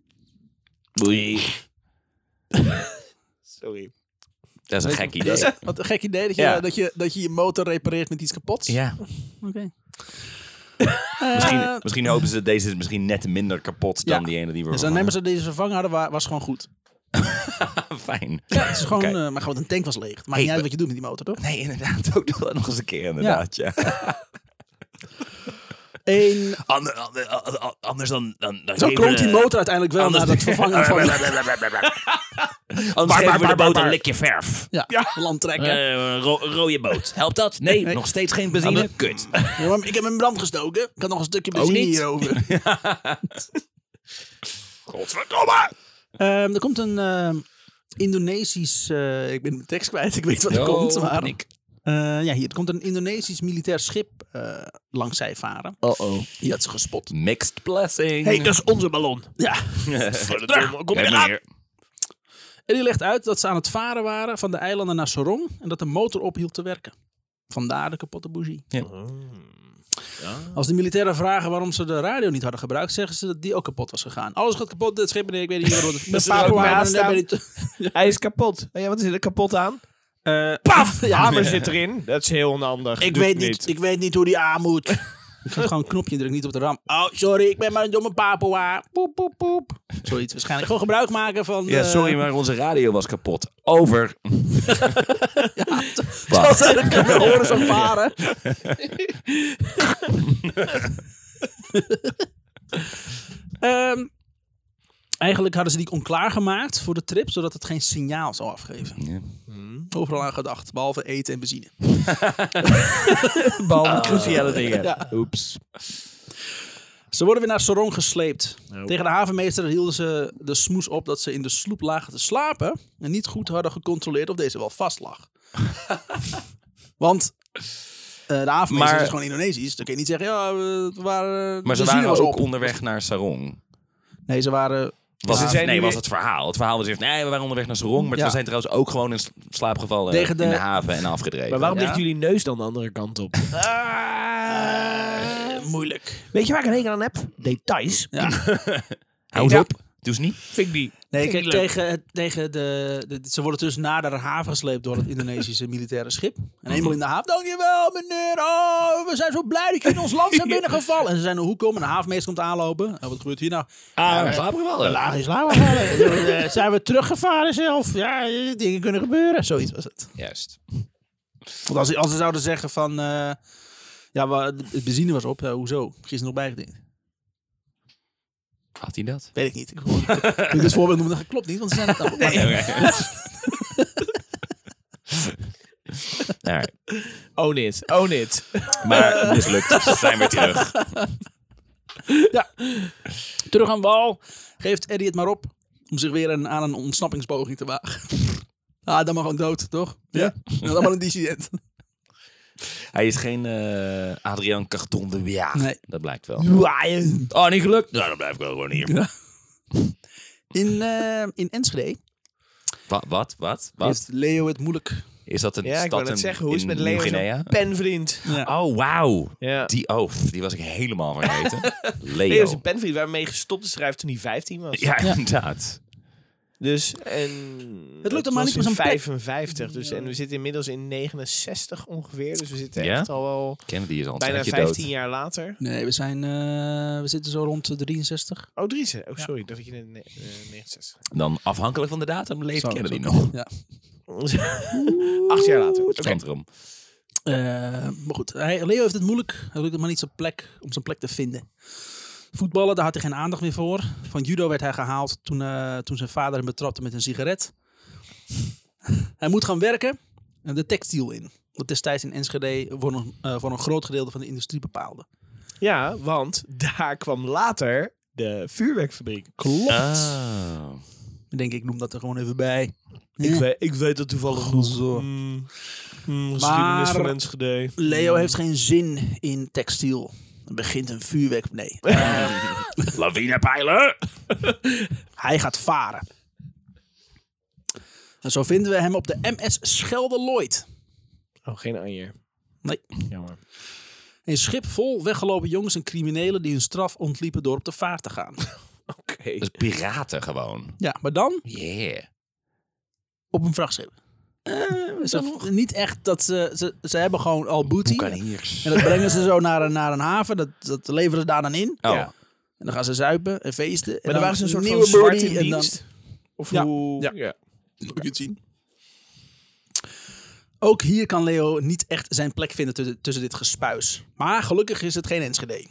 Boei. Sorry. Dat is een gek idee. Dat is wat een gek idee dat je, Ja. dat, je, dat je je motor repareert met iets kapots. Ja. Oké. Eh, Misschien, misschien hopen ze deze is misschien net minder kapot dan Ja. die ene die we Dus dan nemen ze deze vervangen hadden, wa- was gewoon goed. vervangen. Fijn. Ja, het is gewoon, Oké. eh, maar gewoon een tank was leeg. Het maakt Hey, niet uit we- wat je doet met die motor, toch? Nee, inderdaad. Ook nog- nog eens een keer inderdaad, ja. Eén Ander- ander- ander- anders dan... dan, dan Zo geven kromt die we- motor uiteindelijk wel anders- naar het vervangen van Anders de geven we de maar, boot een maar. likje verf. ja, landtrekker. Eh, een ro- een rode boot. Helpt dat? Nee, Nee. nog steeds geen benzine. Kut. Ja, maar ik heb hem in brand gestoken. Ik had nog een stukje benzine niet? hierover. Godverdomme! Ehm, er komt een ehm, Indonesisch... eh, ik ben mijn tekst kwijt. Ik weet wat er Oh, komt. Maar, paniek. Eh, ja, hier er komt een Indonesisch militair schip eh, langs zij varen. Uh-oh. Die had ze gespot. Mixed blessing. hey, dat is onze ballon. Ja. Ah, Verdomme, kom Kijk hier maar aan. hier. En die legt uit dat ze aan het varen waren van de eilanden naar Sorong. En dat de motor ophield te werken. Vandaar de kapotte bougie. Als de militairen vragen waarom ze de radio niet hadden gebruikt, zeggen ze dat die ook kapot was gegaan. Alles gaat kapot, dit schip, nee, ik weet niet waarom. het- Met ze er ook Papua, naast nee, ik weet niet. Hij is kapot. Oh Ja, wat is er kapot aan? Eh, Paf! Ja, Hamer zit erin. Dat is heel onhandig. ik Doe weet het niet, ik weet niet hoe die aan moet. Ik ga gewoon een knopje drukken, niet op de ram. Oh, sorry, ik ben maar een domme Papua. Poep, poep, poep. Zoiets waarschijnlijk. Gewoon gebruik maken van... Ja, eh, sorry, maar onze radio was kapot. Over. Als Wacht. ze dat kunnen horen, ze varen. Ehm, eigenlijk hadden ze die onklaargemaakt voor de trip, zodat het geen signaal zou afgeven. Ja. Mm. Overal aan gedacht, behalve eten en benzine. Behalve cruciale dingen. Ja. Oeps. Ze worden weer naar Sorong gesleept. Tegen de havenmeester hielden ze de smoes op dat ze in de sloep lagen te slapen. En niet goed hadden gecontroleerd of deze wel vast lag. Want eh, de havenmeester Maar- is gewoon Indonesisch. Dan kun je niet zeggen, ja, we we waren... Maar ze benzine waren was ook op. onderweg naar Sarong. Nee, ze waren... Was ze het, zijn nee, nu was weer- het verhaal. Het verhaal was eerst, nee, we waren onderweg naar Sarong. Maar Ja. we zijn trouwens ook gewoon in s- slaap gevallen Tegen de- in de haven en afgedreven. Maar waarom Ja. ligt jullie neus dan de andere kant op? eh, Eh, moeilijk. Weet je waar ik een hekel aan heb? Details. Hou eens Ja. op. Doe eens niet. Vind ik die. Nee, kijk, tegen, het- tegen de, de- Ze worden dus naar de haven gesleept door het Indonesische militaire schip. En eenmaal in de haven. Dankjewel, meneer. Oh, we zijn zo blij dat je in ons land zijn binnengevallen. En ze zijn een hoek om en de havenmeester komt aanlopen. En wat gebeurt hier nou? Ah, slaapgevallen. Laag is laag. Eh, zijn we teruggevaren zelf? Ja, eh, dingen kunnen gebeuren. Zoiets was het. Juist. Want als, als ze zouden zeggen van... eh, ja, maar het benzine was op. Ja, hoezo? Gisteren nog bijgediend. Had hij dat? Weet ik niet. Ik ik dit voorbeeld noemen, dat klopt niet, want ze zijn het allemaal. Nee. Alright. Own it. Own it. Maar mislukt. Ze zijn weer terug. Terug aan wal geeft Eddie het maar op om zich weer een, aan een ontsnappingspoging te wagen. Ah, dan maar gewoon dood, toch? Ja. Dan maar een dissident. Hij is geen eh, Adriaan Carton de Weer. Nee. Dat blijkt wel. Oh, niet gelukt? Nou, dan blijf ik ook gewoon hier. In, eh, in Enschede Wa- wat? Wat? Wat? heeft Leo het moeilijk. Is dat een Ja, ik stad wou net in- zeggen. Hoe is het in met Leo Nieuw-Guinea? zo'n penvriend? Ja. Oh, wauw. Ja. Die, oh, die was ik helemaal vergeten. Leo is een Leo. penvriend waarmee gestopt te schrijven toen hij 15 was. Ja, inderdaad. Dus, en lukt dat hem maar was niet in met zo'n pet. 55. Dus, en we zitten inmiddels in 69 ongeveer. Dus we zitten Ja? echt al wel Kennedy is al een bijna tijdje 15 dood. jaar later. Nee, we, zijn, eh, we zitten zo rond de 63. Oh, drie ze- Oh, sorry. Dat ik je in de ne- eh, 69. Dan afhankelijk van de datum leeft Zo, Kennedy zo. nog. Ja. Acht jaar later. Oeh, het Oké. centrum. Eh, maar goed, hij, Leo heeft het moeilijk. Hij lukt het maar niet zijn plek, om zijn plek te vinden. Voetballen, daar had hij geen aandacht meer voor. Van judo werd hij gehaald toen, eh, toen zijn vader hem betrapte met een sigaret. hij moet gaan werken en de textiel in. Dat destijds in Enschede voor een, eh, voor een groot gedeelte van de industrie bepaalde. Ja, want daar kwam later de vuurwerkfabriek. Klopt. Ah. Ik denk, ik noem dat er gewoon even bij. Ik, Ja. weet, ik weet dat toevallig Goed nog. zo. Mm, mm, geschiedenis Maar- van Enschede. Leo heeft geen zin in textiel. Er begint een vuurwerk. Nee. Lawinepijlen! Hij gaat varen. En zo vinden we hem op de MS Schelde Lloyd. Oh, geen Anjer. Nee. Jammer. Een schip vol weggelopen jongens en criminelen die hun straf ontliepen door op de vaart te gaan. Oké. Dus piraten gewoon. Ja, maar dan Yeah. op een vrachtschip. Eh, ze, niet echt dat ze, ze... Ze hebben gewoon al booty. En dat brengen ze zo naar een, naar een haven. Dat, dat leveren ze daar dan in. Oh. Ja. En dan gaan ze zuipen en feesten. En dan Maar dan waren ze een soort nieuwe van zwart birdie in en dan- dienst? Of Ja. hoe... Ja. Moet je het zien. Ook hier kan Leo niet echt zijn plek vinden tussen, tussen dit gespuis. Maar gelukkig is het geen Enschede.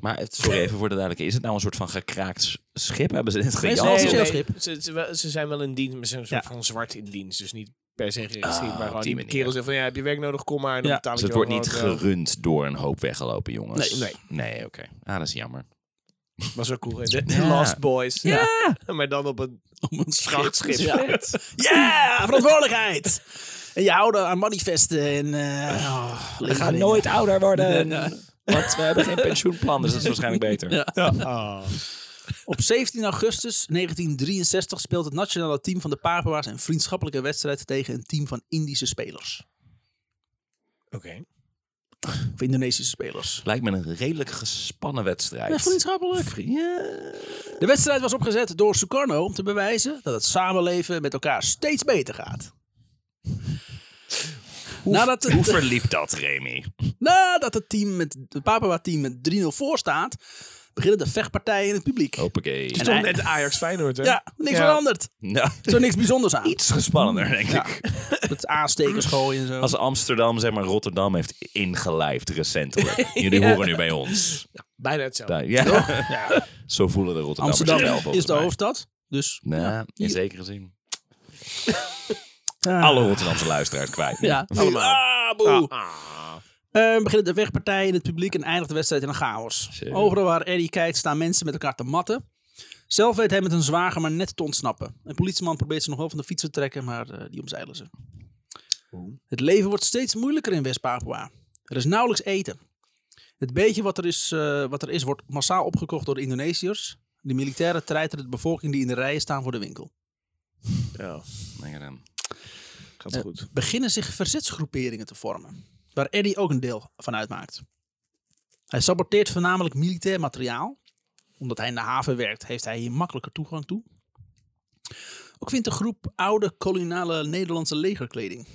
Maar het- sorry even voor de duidelijkheid. Is het nou een soort van gekraakt s- schip? Hebben ze dit ze- gejat? Nee, Nee, nee, nee, schip. Ze, ze, wel- ze zijn wel in dienst, maar ze zijn een soort Ja. van zwart in dienst. Dus niet per se geregistreerd, Ah, maar op gewoon die die manier. kerel zegt van ja, heb je werk nodig, kom maar. En dan Ja. betaal ik Dus het jou wordt niet gewoon, eh, gerund door een hoop weggelopen jongens? Nee, Nee, oké. Ah, dat is jammer. Was wel cool. hè? De Ja. Lost Boys. Ja. maar dan op een Om een vrachtschip. Ja, Ja, verantwoordelijkheid! En je houden aan manifesten en... eh, we gaan ouder worden. Ja. Want we hebben geen pensioenplan, dus dat is waarschijnlijk beter. Ja. Oh. Ah. Op 17 augustus 1963 speelt het nationale team van de Papua's een vriendschappelijke wedstrijd tegen een team van Indische spelers. Oké. Of Indonesische spelers. Lijkt me een redelijk gespannen wedstrijd. Ja, vriendschappelijk. Vrienden. De wedstrijd was opgezet door Sukarno om te bewijzen dat het samenleven met elkaar steeds beter gaat. nadat, Hoe het, verliep dat, Remy? nadat het team met de Papua-team met 3-0 voor staat, beginnen de vechtpartijen in het publiek. Hoppakee. En Stond hij- net Ajax Feyenoord, hè? Ja, niks Ja. veranderd. Nou, Er is niks bijzonders aan. iets gespannender, denk Ja. ik. Met aanstekers gooien en zo. Als Amsterdam, zeg maar, Rotterdam heeft ingelijfd recentelijk. Jullie horen nu bij ons. Bijna hetzelfde. Ja. Zo voelen de Rotterdammers Amsterdam zich wel, volgens is de mij. hoofdstad. Dus Nou, in hier- zekere zin. Ah. Alle Rotterdamse luisteraars kwijt. ja, allemaal. Ah, boe. Ah. Eh, beginnen de wegpartijen in het publiek en eindigt de wedstrijd in een chaos. Zeker. Overal waar Eddie kijkt staan mensen met elkaar te matten. Zelf weet hij met een zwager maar net te ontsnappen. Een politieman probeert ze nog wel van de fiets te trekken, maar eh, die omzeilen ze. Het leven wordt steeds moeilijker in West-Papua. Er is nauwelijks eten. Het beetje wat er, is, eh, wat er is wordt massaal opgekocht door de Indonesiërs. De militairen treiteren de bevolking die in de rijen staan voor de winkel. Ja, Lekker dan. gaat Eh, goed. beginnen zich verzetsgroeperingen te vormen, waar Eddie ook een deel van uitmaakt. Hij saboteert voornamelijk militair materiaal. Omdat hij in de haven werkt, heeft hij hier makkelijker toegang toe. Ook vindt de groep oude koloniale Nederlandse legerkleding,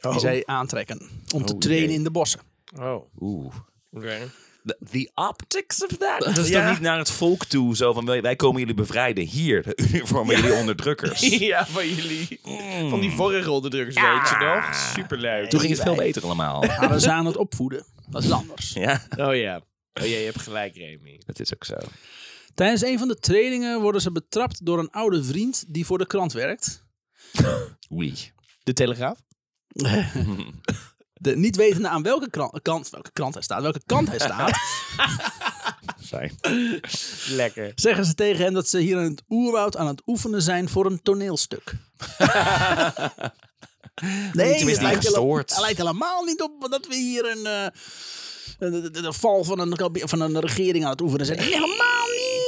die zij aantrekken om te Oh, trainen jee. in de bossen. Oh, oké. Oeh. The, the optics of that? Dat is Ja. toch niet naar het volk toe, zo van wij wij komen jullie bevrijden. Hier, de uniform van jullie onderdrukkers. ja, van jullie. Van die vorige onderdrukkers, weet je nog? Superleuk. Toen ging het veel beter allemaal. Maar ze aan het opvoeden, dat is anders. ja, Oh ja. Oh ja, je hebt gelijk, Remy. dat is ook zo. Tijdens een van de trainingen worden ze betrapt door een oude vriend die voor de krant werkt. Oei. De Telegraaf? De, niet wetende aan welke kran- kant, welke krant hij staat, welke kant hij staat, Fijn. Lekker. zeggen ze tegen hem dat ze hier in het oerwoud aan het oefenen zijn voor een toneelstuk. nee, het tenminste lijkt, hele- gestoord. het lijkt helemaal niet op dat we hier een, eh, een- de, de- de val van een, kabi- van een regering aan het oefenen zijn. Nee, helemaal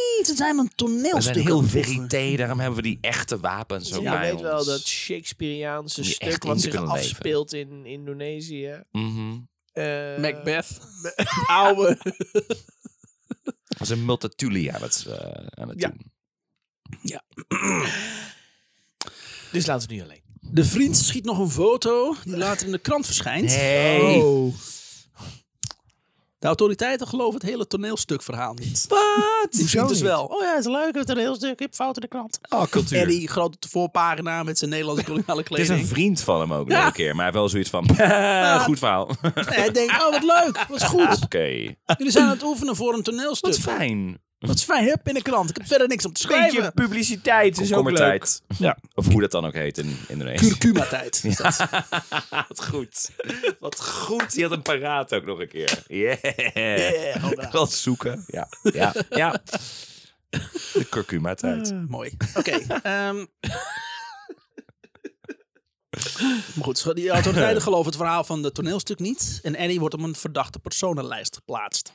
niet. Het zijn een We toneelstuk. zijn heel aan het oefenen. verité, daarom hebben we die echte wapens ook Je bij weet ons. wel dat Shakespeareaanse Om je stuk echt in wat te zich kunnen leven. afspeelt in Indonesië. Mhm. eh, Macbeth. Oude. Dat is een multitulia wat ze eh, aan het Ja. doen. Dus laten we het nu alleen. De vriend schiet nog een foto die later in de krant verschijnt. Nee. Oh. De autoriteiten geloven het hele toneelstukverhaal niet. Wat? Die vriend is wel. Oh ja, het is leuk, het toneelstuk. Ik heb fout in de krant. Oh, cultuur. En die grote voorpagina met zijn Nederlandse koloniale Het is kleding. een vriend van hem ook nog Ja. een keer, maar wel zoiets van, goed verhaal. Oké, En hij denkt, oh wat leuk, wat goed. Jullie zijn aan het oefenen voor een toneelstuk. wat fijn. Dat is fijn, hup, in de krant. Ik heb verder niks om te Beetje schrijven. publiciteit is ook leuk. Komkommertijd. Of hoe dat dan ook heet in Indonesië. Curcuma-tijd. is dat. Wat goed. Wat goed. Die had een paraat ook nog een keer. Yeah. Eh, oh, nou. Wel zoeken. Ja. Ja. ja. De curcuma tijd. Eh, mooi. Oké. ehm. maar goed, die autoriteiten geloven het verhaal van het toneelstuk niet. En Annie wordt op een verdachte personenlijst geplaatst.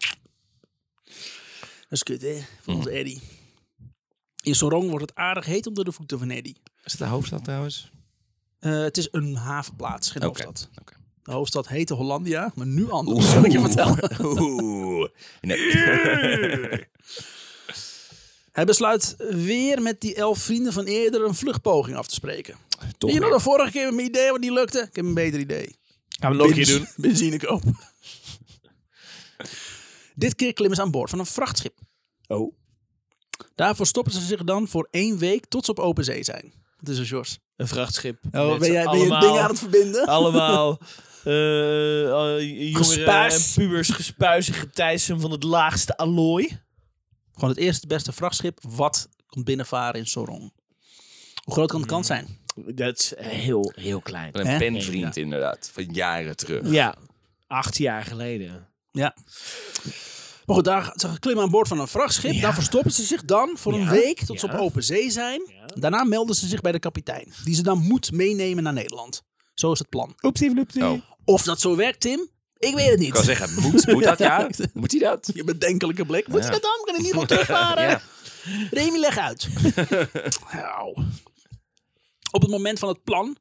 Dat is kut, hè? Voor Mm. onze Eddie. In Sorong wordt het aardig heet onder de voeten van Eddie. Is het de hoofdstad trouwens? Eh, het is een havenplaats, geen Oké. hoofdstad. Oké. De hoofdstad heette Hollandia, maar nu anders, Ah. zal ik je vertellen. Oeh. Nee. Hij besluit weer met die elf vrienden van eerder een vluchtpoging af te spreken. Toch Zie je nog weer. de vorige keer met mijn idee wat niet lukte? Ik heb een beter idee. Gaan we nog een keer Benz- doen. Benzine kopen. Dit keer klimmen ze aan boord van een vrachtschip. Oh. Daarvoor stoppen ze zich dan voor één week tot ze op open zee zijn. Dat is een George. Een vrachtschip. Oh, Met ben jij z'n ben je allemaal- dingen aan het verbinden? Allemaal eh, eh, jongeren en Gespuis. pubers gespuis en getijsen van het laagste allooi. Gewoon het eerste beste vrachtschip wat komt binnenvaren in Sorong. Hoe groot kan de kans zijn? Dat is heel, heel klein. Een Hè? penvriend inderdaad. Van jaren terug. Ja, acht jaar geleden. Ja. Maar goed, daar, ze klimmen aan boord van een vrachtschip. Daar verstoppen ze zich dan voor een Ja. week tot ze Ja. op open zee zijn. Daarna melden ze zich bij de kapitein. Die ze dan moet meenemen naar Nederland. Zo is het plan. Oepsie, bloepsie. Oh. Of dat zo werkt, Tim? Ik weet het Ik kan niet. zeggen, moet, moet dat ja? Moet hij dat? Je bedenkelijke blik. Moet je dat dan? Kan ik niet gewoon terugvaren? Ja. Remy, leg uit. Nou. Op het moment van het plan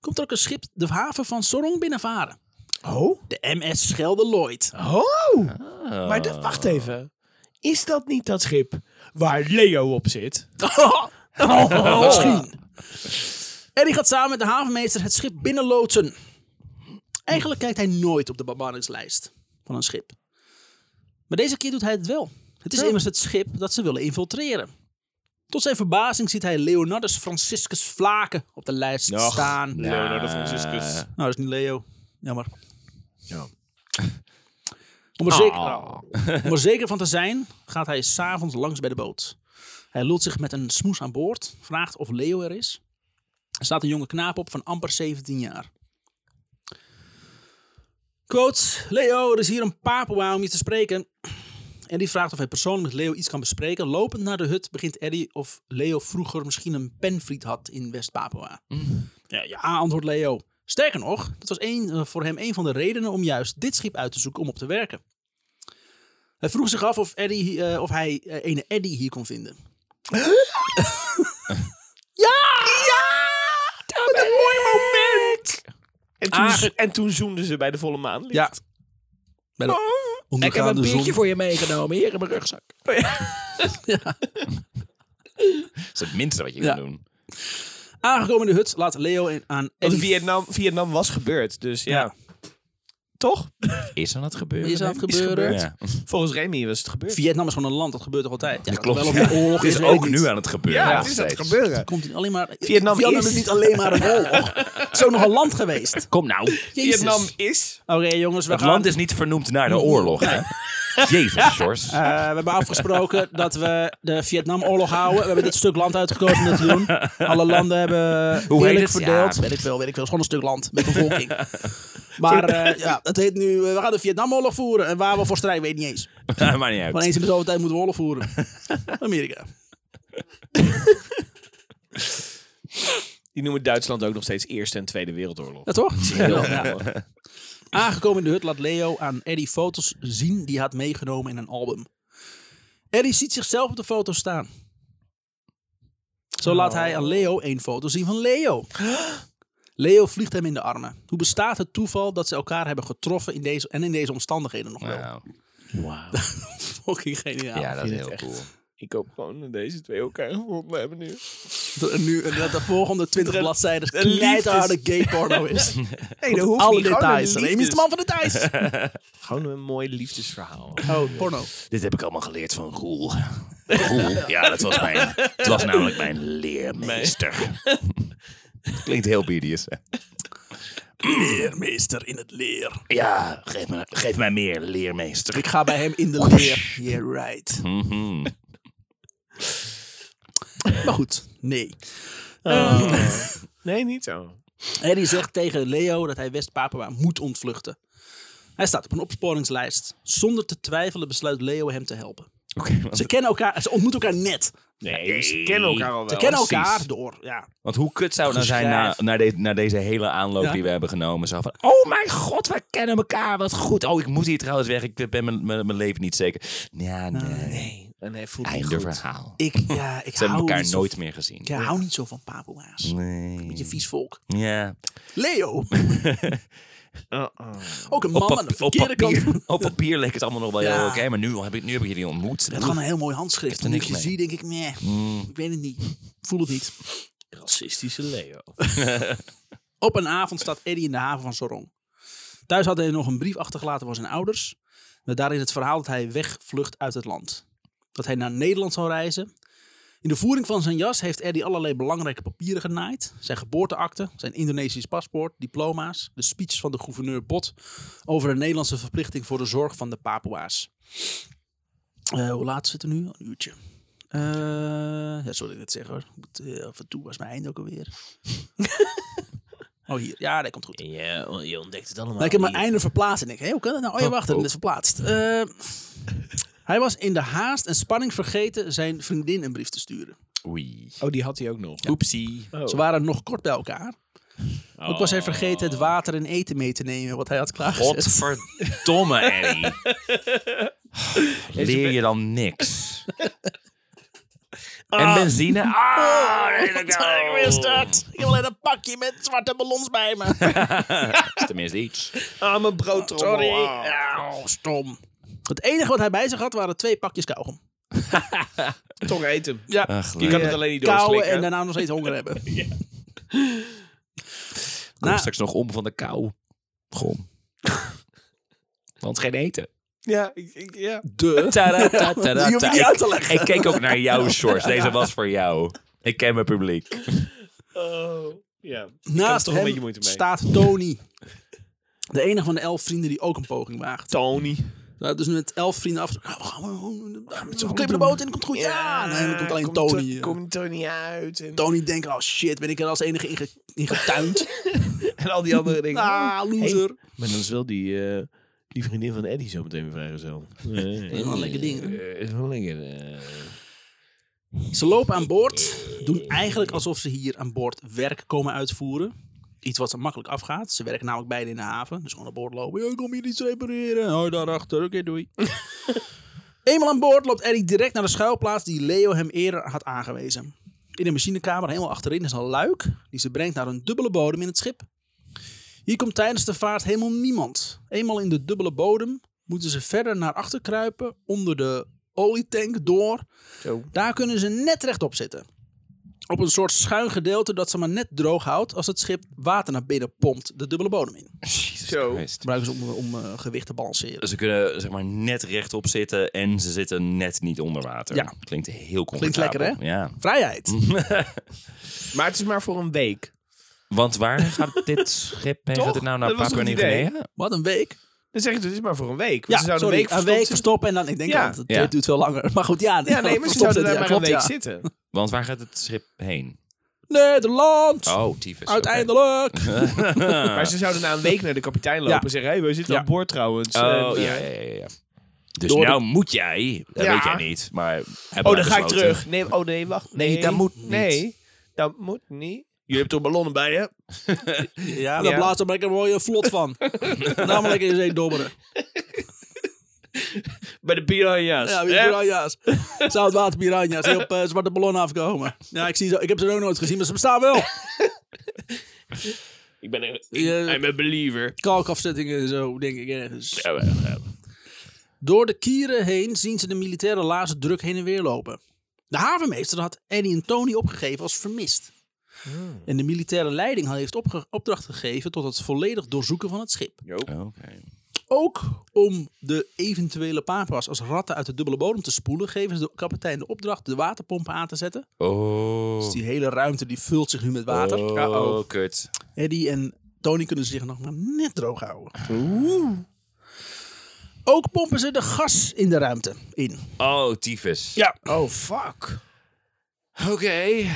komt er ook een schip de haven van Sorong binnenvaren. Oh? De MS Schelde Lloyd. Oh! Maar dat, wacht even. Is dat niet dat schip waar Leo op zit? Misschien. Oh. En die gaat samen met de havenmeester het schip binnenloodsen. Eigenlijk kijkt hij nooit op de barbandingslijst van een schip. Maar deze keer doet hij het wel. Het is immers het schip dat ze willen infiltreren. Tot zijn verbazing ziet hij Leonardus Franciscus Vlaken op de lijst Och, staan. Nou. Leonardo Franciscus. Nou, dat is niet Leo. Jammer. Om er, zeker, om er zeker van te zijn, gaat hij s'avonds langs bij de boot. Hij lult zich met een smoes aan boord, vraagt of Leo er is. Er staat een jonge knaap op van amper 17 jaar. Quote, Leo, er is hier een papoea om je te spreken. En die vraagt of hij persoonlijk met Leo iets kan bespreken. Lopend naar de hut begint Eddie of Leo vroeger misschien een penvriend had in West-Papua. Ja, ja, antwoordt Leo. Sterker nog, dat was één, eh, voor hem een van de redenen om juist dit schip uit te zoeken om op te werken. Hij vroeg zich af of, Eddie, eh, of hij eh, ene Eddie hier kon vinden. Wat een mooi moment! En toen, Aange- zo- en toen zoenden ze bij de volle maan. Ja. Bij de Oh. ondergaande zon. voor je meegenomen. Hier in mijn rugzak. Oh Dat is het minste wat je Ja. kan doen. Aangekomen in de hut laat Leo in- aan Want Eddie... Vietnam, Vietnam was gebeurd, dus ja. Toch? Is aan het gebeuren? Is aan het Is gebeuren. gebeurd. Ja. Volgens Remy was het gebeurd. Vietnam is gewoon een land, dat gebeurt toch altijd? Ja, Dat klopt. Wel of er Ja. oorlog is, is weet ik ook niet. nu aan het gebeuren. Ja, nog het is aan het steeds. gebeuren. Komt niet alleen maar... Vietnam is- niet alleen maar een oorlog. Het is ook nog een land geweest. Kom nou. Jezus. Vietnam is... Oké jongens, we Het gaan... land is niet vernoemd naar de oorlog, hè? Jezus, Sjors. Eh, we hebben afgesproken dat we de Vietnamoorlog houden. We hebben dit stuk land uitgekozen om dat te doen. Alle landen hebben Hoe heet eerlijk het? verdeeld. Ja. weet ik veel, weet ik veel. Het is gewoon een stuk land met bevolking. Maar eh, ja, het heet nu, eh, we gaan de Vietnamoorlog voeren. En waar we voor strijden, weet ik niet eens. maar niet Maar uit. eens in de zoveel tijd moeten we oorlog voeren. Amerika. Die noemen Duitsland ook nog steeds Eerste en Tweede Wereldoorlog. Ja, toch? Ja. Aangekomen in de hut laat Leo aan Eddie foto's zien die hij had meegenomen in een album. Eddie ziet zichzelf op de foto staan. Zo laat hij aan Leo één foto zien van Leo. Leo vliegt hem in de armen. Hoe bestaat het toeval dat ze elkaar hebben getroffen in deze, en in deze omstandigheden nog wel? Wauw. Fucking geniaal. Ja, dat Nou, is heel cool. Ik hoop gewoon dat deze twee elkaar gevonden hebben nu. Dat, nu, dat de volgende 20 bladzijden knijterharde gay porno is. Nee, dat Alle details. Remy is de man van de details. Gewoon een mooi liefdesverhaal. Oh, porno. Dit heb ik allemaal geleerd van Roel. Roel, ja, dat was mijn... Het was namelijk mijn leermeester. Klinkt heel BDS, hè? Leermeester in het leer. Ja, geef, me, geef mij meer leermeester. Ik ga bij hem in de leer. Yeah, right. Mhm. Maar goed, nee. Nee, niet zo. Harry zegt tegen Leo dat hij West-Papua moet ontvluchten. Hij staat op een opsporingslijst. Zonder te twijfelen besluit Leo hem te helpen. Oké, want, Ze kennen elkaar, ze ontmoeten elkaar net. Nee, ze kennen elkaar al wel. Ze kennen Oh, precies. elkaar door, ja. want hoe kut zou het nou zijn na, Geschrijf. na, de- na deze hele aanloop Ja. die we hebben genomen? Zo van, oh mijn god, wij kennen elkaar, wat goed. Oh, ik moet hier trouwens weg, ik ben mijn, mijn, mijn leven niet zeker. Ja, nee. Nee, en hij voelt niet Einde goed. verhaal. Ik, ja, ik Ze hebben hou elkaar niet zo- nooit meer gezien. Ik hou niet zo van Papua's. Beetje Nee. vies volk. Ja. Leo, Uh-uh. ook een Op, man aan de pap- op verkeerde kant. papier, op papier leek het allemaal nog wel heel Ja. oké, maar nu heb, ik, nu heb ik jullie ontmoet. Het is gewoon een heel mooi handschrift. er En nu ik niks je mee. Mm. zie, denk ik, nee, ik weet het niet. Ik voel het niet. Racistische Leo. Op een avond staat Eddie in de haven van Sorong. Thuis had hij nog een brief achtergelaten voor zijn ouders. Met daarin het verhaal dat hij wegvlucht uit het land. Dat hij naar Nederland zou reizen. In de voering van zijn jas heeft Eddie allerlei belangrijke papieren genaaid. Zijn geboorteakte, zijn Indonesisch paspoort, diploma's, de speech van de gouverneur Bot over de Nederlandse verplichting voor de zorg van de Papua's. Eh, hoe laat zit het nu? Een uurtje. Eh, ja, sorry dat ik het zeg hoor. Ik moet, eh, af en toe was mijn einde ook alweer. oh, hier. Ja, dat komt goed. Ja, je ontdekt het allemaal. Nou, ik heb mijn hier. einde verplaatst en ik, hé, hoe kan dat nou? Oh ja, wacht, het is verplaatst. Eh, hij was in de haast en spanning vergeten zijn vriendin een brief te sturen. Oei. Oh, die had hij ook nog. Oepsie. Oh. Ze waren nog kort bij elkaar. Ook was hij vergeten het water en eten mee te nemen wat hij had klaargezet. Godverdomme, Eddie. Leer je dan niks? En benzine? Ah, nee, dat kan ik Is dat? Ik heb alleen een pakje met zwarte ballons bij me. Tenminste iets. Ah, mijn Ah. brood Sorry. Ja, oh, stom. Het enige wat hij bij zich had waren twee pakjes kauwgom. Toch eet hem. Ja, Ach, Je nee. kan het alleen niet kauwen en doorslikken. daarna nog steeds honger hebben. Kom Nou- straks nog om van de kou. Gom. Want geen eten. Ja, ik, ik- ja. De. Tada, tada, Die hoef je niet Ik- uit te leggen. Ik keek ook naar jouw shorts. Deze was voor jou. Ik ken mijn publiek. Oh. Ja. Naast toch een hem beetje moeite mee. staat Tony. De enige van de elf vrienden die ook een poging waagt. Tony. Nou, dus met elf vrienden af. Oh, we gaan- we- we- we- we klippen de boot in, komt goed. Ja, nee, dan komt alleen Ah, komt Tony. eh. To- Komt Tony uit. En, Tony denkt, oh shit, ben ik er als enige in, ge- in getuind. en al die andere dingen. ah, loser. Maar dan is wel die, eh, die vriendin van Eddie zo meteen weer vrijgezel. Dat is wel een lekker ding. Eh, is wel lekker. eh. Ze lopen aan boord, doen eigenlijk alsof ze hier aan boord werk komen uitvoeren. Iets wat ze makkelijk afgaat. Ze werken namelijk beide in de haven. Dus gewoon aan boord lopen. Ja, ik kom hier iets repareren. Oh, daarachter. Oké, doei. Eenmaal aan boord loopt Eric direct naar de schuilplaats die Leo hem eerder had aangewezen. In de machinekamer helemaal achterin is een luik die ze brengt naar een dubbele bodem in het schip. Hier komt tijdens de vaart helemaal niemand. Eenmaal in de dubbele bodem moeten ze verder naar achter kruipen onder de olietank door. Zo. Daar kunnen ze net rechtop zitten. Op een soort schuin gedeelte dat ze maar net droog houdt als het schip water naar binnen pompt de dubbele bodem in. Jezus Zo. Christ. Gebruiken ze om, om eh, gewicht te Dus- balanceren. Ze kunnen zeg maar net rechtop zitten en ze zitten net niet onder water. Ja. Klinkt heel comfortabel. Klinkt lekker, hè? Ja. Vrijheid. Mhm. Maar het is maar voor een week. Want waar gaat dit schip heen? Toch? Gaat dit nou naar Dat was Papua toch het idee? Nieuw-Guinea? Wat een week. Dan zeg ik, het is maar voor een Ja, week. Want Dus ze sorry, zouden een week verstopt zitten. verstoppen en dan... Ik denk, Ja. dat het Ja. duurt veel langer. Maar goed, ja. Ja, nee, maar ze verstopt zouden daar zitten, maar ja, een week klopt, ja. zitten. Want waar gaat het schip heen? Nederland! Oh, tyfus. Uiteindelijk! Maar ze zouden na een week naar de kapitein lopen Ja. en zeggen... Hé, hey, we zitten Ja. aan boord trouwens. Oké. En, Oh, eh, ja, ja, ja. ja. Dus Door de- nou moet jij, dat Ja. weet jij niet, maar... Oh, dan ga ik terug. Nee, oh nee, wacht. Nee, dat moet niet. Nee, dat moet niet. Jullie hebben toch ballonnen bij je? Ja, daar Ja. blaast er lekker mooi een vlot van. Namelijk in zee dobberen. Bij de piranha's. Ja, weer hè? piranha's. Zoutwater piranha's die op eh, zwarte ballon afkomen. Ja, ik, zie ze, ik heb ze ook nooit gezien, maar ze bestaan wel. Ik ben een Ja. I'm a believer. Kalkafzettingen en zo, denk ik ergens. Ja, wel, ja. Door de kieren heen zien ze de militaire lazen druk heen en weer lopen. De havenmeester had Eddie en Tony opgegeven als vermist. En de militaire leiding heeft opge- opdracht gegeven tot het volledig doorzoeken van het schip. Oké. Ook om de eventuele papa's als ratten uit de dubbele bodem te spoelen, geven ze de kapitein de opdracht de waterpompen aan te zetten. Oh. Dus die hele ruimte die vult zich nu met water. Oh, kut. Eddie en Tony kunnen zich nog maar net droog houden. Ook pompen ze de gas in de ruimte in. Oh, tyfus. Ja. Oh, fuck. Oké.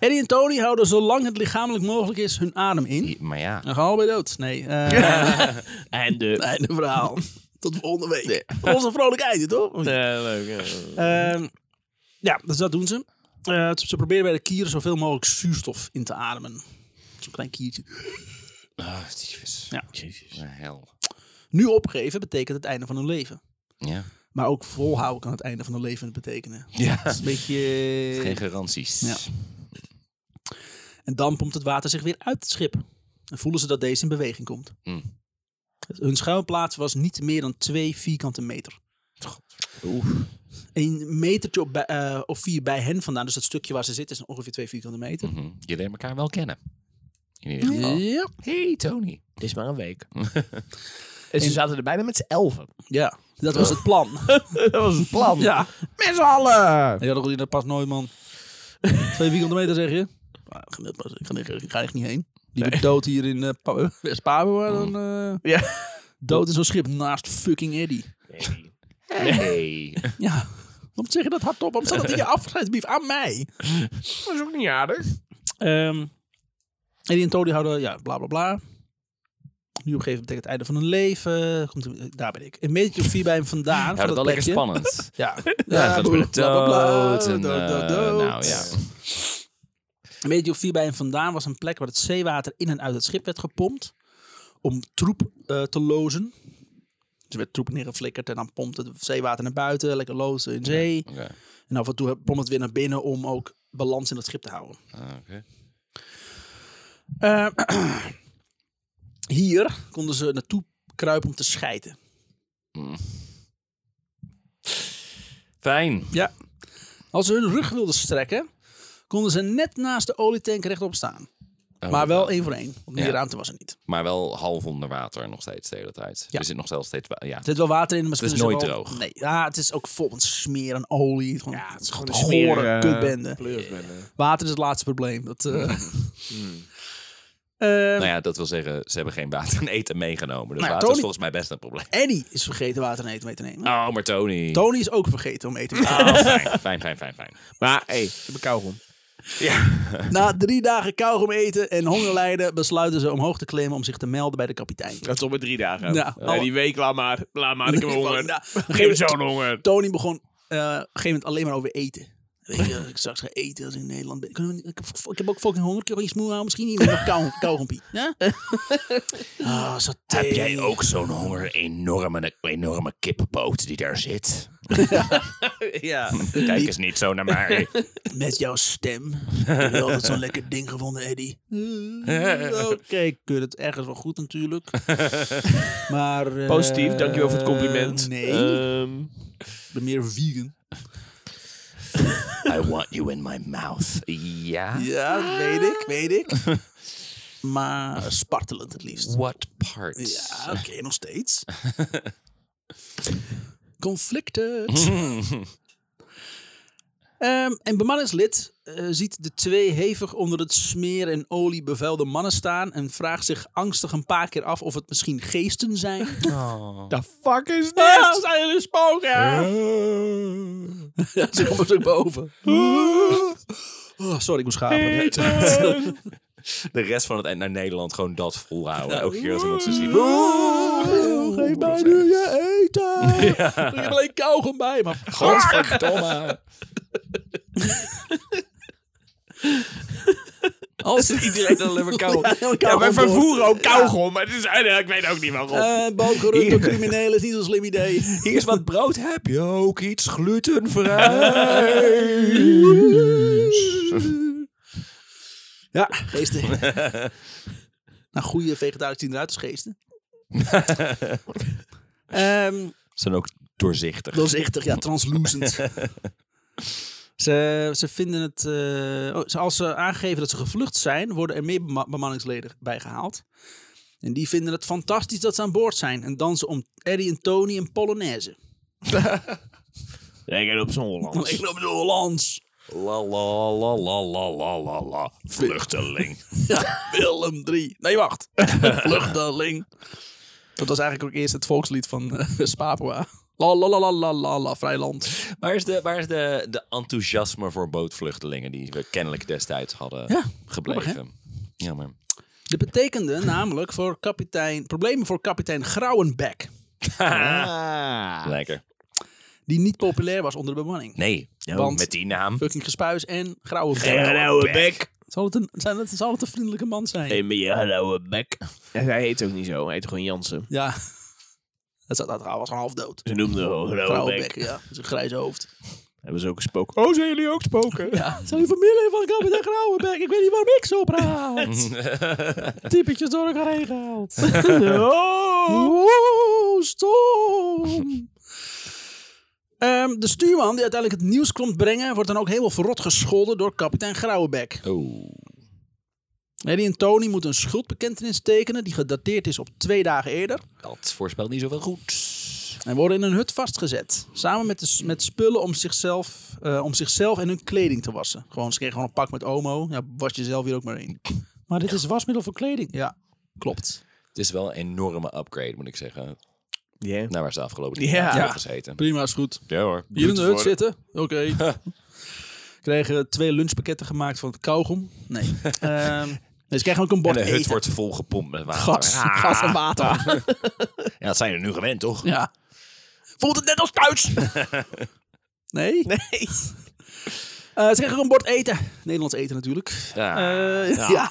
Eddie en Tony houden zolang het lichamelijk mogelijk is hun adem in. Maar ja. Dan gaan we allebei dood. Nee. eh En de... einde verhaal. Tot volgende week. Onze vrolijk einde, toch? Ehm, ja, dus dat doen ze. Eh, ze proberen bij de kieren zoveel mogelijk zuurstof in te ademen. Zo'n klein kiertje. Oh, tyfus. Ja. Ja, hel. Nu opgeven betekent het einde van hun leven. Ja. Maar ook volhouden kan het einde van hun leven betekenen. Dat Ja. is een beetje... Geen garanties. Ja. En dan pompt het water zich weer uit het schip. En voelen ze dat deze in beweging komt. Dus Mm. Hun schuilplaats was niet meer dan twee vierkante meter. Een metertje op bij- eh, of vier bij hen vandaan, dus dat stukje waar ze zitten, is ongeveer twee vierkante meter. Mhm. Je leert elkaar wel kennen. In ieder geval. Ja. Hey, Tony. Het is maar een week. en ze zaten er bijna met z'n elfen. ja, dat was het plan. dat was het plan. ja. Met z'n allen! Ja, dat, dat past nooit, man. Twee vierkante meter zeg je? Maar Ik ga, net pas- ik ga, niet- ik ga echt niet heen. Die wordt dood hier in eh, Pa- West-Papua. dan, eh, Ja. Dood in zo'n schip naast fucking Eddie. Hey. Ja. Waarom zeg je dat hardop? Waarom staat dat in je afscheidsbrief aan mij? Dat is ook niet aardig. Ehm Eddie en Tony houden, ja, bla bla bla. Nu op een gegeven moment betekent het einde van hun leven. Komt, een- daar ben ik. Een metertje of vier bij hem vandaan. Ja, van dat wel lekker plekje. spannend. Ja, Ja, ja gaat bij de bla, bla, bla, dood. En, dood, dood, eh, dood. nou ja. Een metertje of vier bij hem vandaan was een plek waar het zeewater in en uit het schip werd gepompt. Om troep eh, te lozen. Dus er werd troep neergeflikkerd en dan pompt het zeewater naar buiten. Lekker lozen in zee. Oké. En af en toe pompt het weer naar binnen om ook balans in het schip te houden. Ah, oké. Eh, hier konden ze naartoe kruipen om te schijten. Fijn. Ja. Als ze hun rug wilden strekken, konden ze net naast de olietank rechtop staan. Oh, maar wel één voor één. Want meer Ja. ruimte was er niet. Maar wel half onder water nog steeds de hele tijd. Ja. Er zit nog zelfs steeds... wa- Ja. Er zit wel water in, maar Het is nooit droog. Nee, ja, het is ook vol met smeer en olie. Het, gewoon, ja, het is gewoon een smeer, gore eh, kutbende. Water is het laatste probleem. Dat, eh Eh, Nou ja, dat wil zeggen, ze hebben geen water en eten meegenomen. Dus Nou ja, water Tony- is volgens mij best een probleem. Eddie is vergeten water en eten mee te nemen. Oh, maar Tony. Tony is ook vergeten om eten mee te nemen. Oh, fijn, fijn, fijn, fijn, fijn. Maar, hé, hey, ik heb een kauwgom. Na drie dagen kauwgom eten en honger lijden, besluiten ze omhoog te klimmen om zich te melden bij de kapitein. Dat is op met drie dagen. Ja. Nee, die week, laat maar. Laat maar, ik heb honger. Nou, Geef me zo'n honger. Tony begon eh, op een gegeven moment alleen maar over eten. Weet je, als ik straks ga eten als ik in Nederland ben. Kunnen we niet- Ik, heb- ik heb ook fucking honger. Ik heb wel iets moe houden. Misschien niet meer kou, kauwgompie. Ja? Ah, saté. Heb jij ook zo'n honger? Enorme, enorme kippenpoot die daar zit. Ja. Kijk eens niet zo naar mij. Met jouw stem. Ik heb je altijd zo'n lekker ding gevonden, Eddie. Eh, Oké, ik keur het ergens wel goed natuurlijk. Maar, eh, Positief, dankjewel voor het compliment. Nee, Ehm, ik ben meer vegan. I want you in my mouth. Ja? Ja, weet ik, weet ik. Maar spartelend het liefst. What parts? Ja, oké, nog steeds. Conflicted. Ehm, een bemanningslid eh, ziet de twee hevig onder het smeer en olie bevuilde mannen staan en vraagt zich angstig een paar keer af of het misschien geesten zijn. The fuck is dit? zijn jullie spoken? Ja, ze komen zo boven. Oh, sorry, ik moest schapen. De rest van het eind naar Nederland gewoon dat volhouden. Elke keer als iemand ze ziet. Oh, Geef mij nu je eten! Ik heb alleen kauwgom bij, maar Godverdomme. als Iedereen alleen maar kauwgom. Ja, Ja, wij kauwgom door. vervoeren ook kauwgom. Maar het is, ik weet ook niet waarom. Eh, boot gerund door criminelen is niet zo'n slim idee. Hier is wat brood. Heb je ook iets glutenvrij? Ja, geesten. nou, goede vegetariërs zien eruit als geesten. Ehm Ze zijn ook doorzichtig. doorzichtig, ja, translucent. Ze, ze vinden het. eh, oh, ze- als ze aangeven dat ze gevlucht zijn, worden er meer bema- bemanningsleden bij gehaald. En die vinden het fantastisch dat ze aan boord zijn en dansen om Eddie en Tony en Polonaise. Lekker op zo'n Holland. Ik loop de Hollands. La la la la la la la la. Vluchteling. Willem 3. Nee, wacht. Vluchteling. Dat was eigenlijk ook eerst het volkslied van eh Spapoa. La la la la la la la, Vrijland. Waar is, de, waar is de, de enthousiasme voor bootvluchtelingen die we kennelijk destijds hadden Ja, gebleven? Jammer. Dit betekende namelijk voor kapitein, problemen voor kapitein Grauwenbeck. Ah. Lekker. Die niet populair was onder de bemanning. Nee, Want- met die naam. Fucking gespuis en grauwe Een bek. rauwe bek. Zal het een, zijn het, zal het een vriendelijke man zijn? Neem me je rauwe bek. Hij heet ook niet zo, hij heet gewoon Jansen. Ja. Dat, zat- dat was gewoon half dood. Ze noemden hem rauwe Grauwe bek. bek, ja. Dat is een grijs hoofd. Hebben ze ook een spook. Oh, zijn jullie ook spoken? Ja. Zijn familie van kapitein Grauwenbeck? Ik weet niet waarom ik zo praat. Typetjes door elkaar heen gehaald. oh. stom. Ehm, de stuurman die uiteindelijk het nieuws komt brengen... wordt dan ook helemaal verrot gescholden door kapitein Grauwenbeck. Oeh. Eddie en Tony moeten een schuldbekentenis tekenen... die gedateerd is op twee dagen eerder... Dat voorspelt niet zoveel goed. En worden in een hut vastgezet. Samen met, de, s- met spullen om zichzelf, eh, om zichzelf en hun kleding te wassen. Gewoon, ze kregen gewoon een pak met Omo. Ja, was je zelf hier ook maar in. Maar dit is wasmiddel voor kleding. Ja, klopt. Het is wel een enorme upgrade, moet ik zeggen. Naar waar ze de afgelopen Ja. jaar hebben Ja. gezeten. Prima, is goed. Ja hoor. Hier in de hut zitten? Oké. kregen twee lunchpakketten gemaakt van kauwgom. Nee. Ehm, nee, ze kregen ook een En bord de hut eten. wordt volgepompt met water. Gas, Ah, gas en water. Ja, dat zijn we nu gewend, toch? Ja. Voelt het net als thuis? nee? Nee. ze kregen ook een bord eten. Nederlands eten natuurlijk. Ja. Eh, Ja. ja.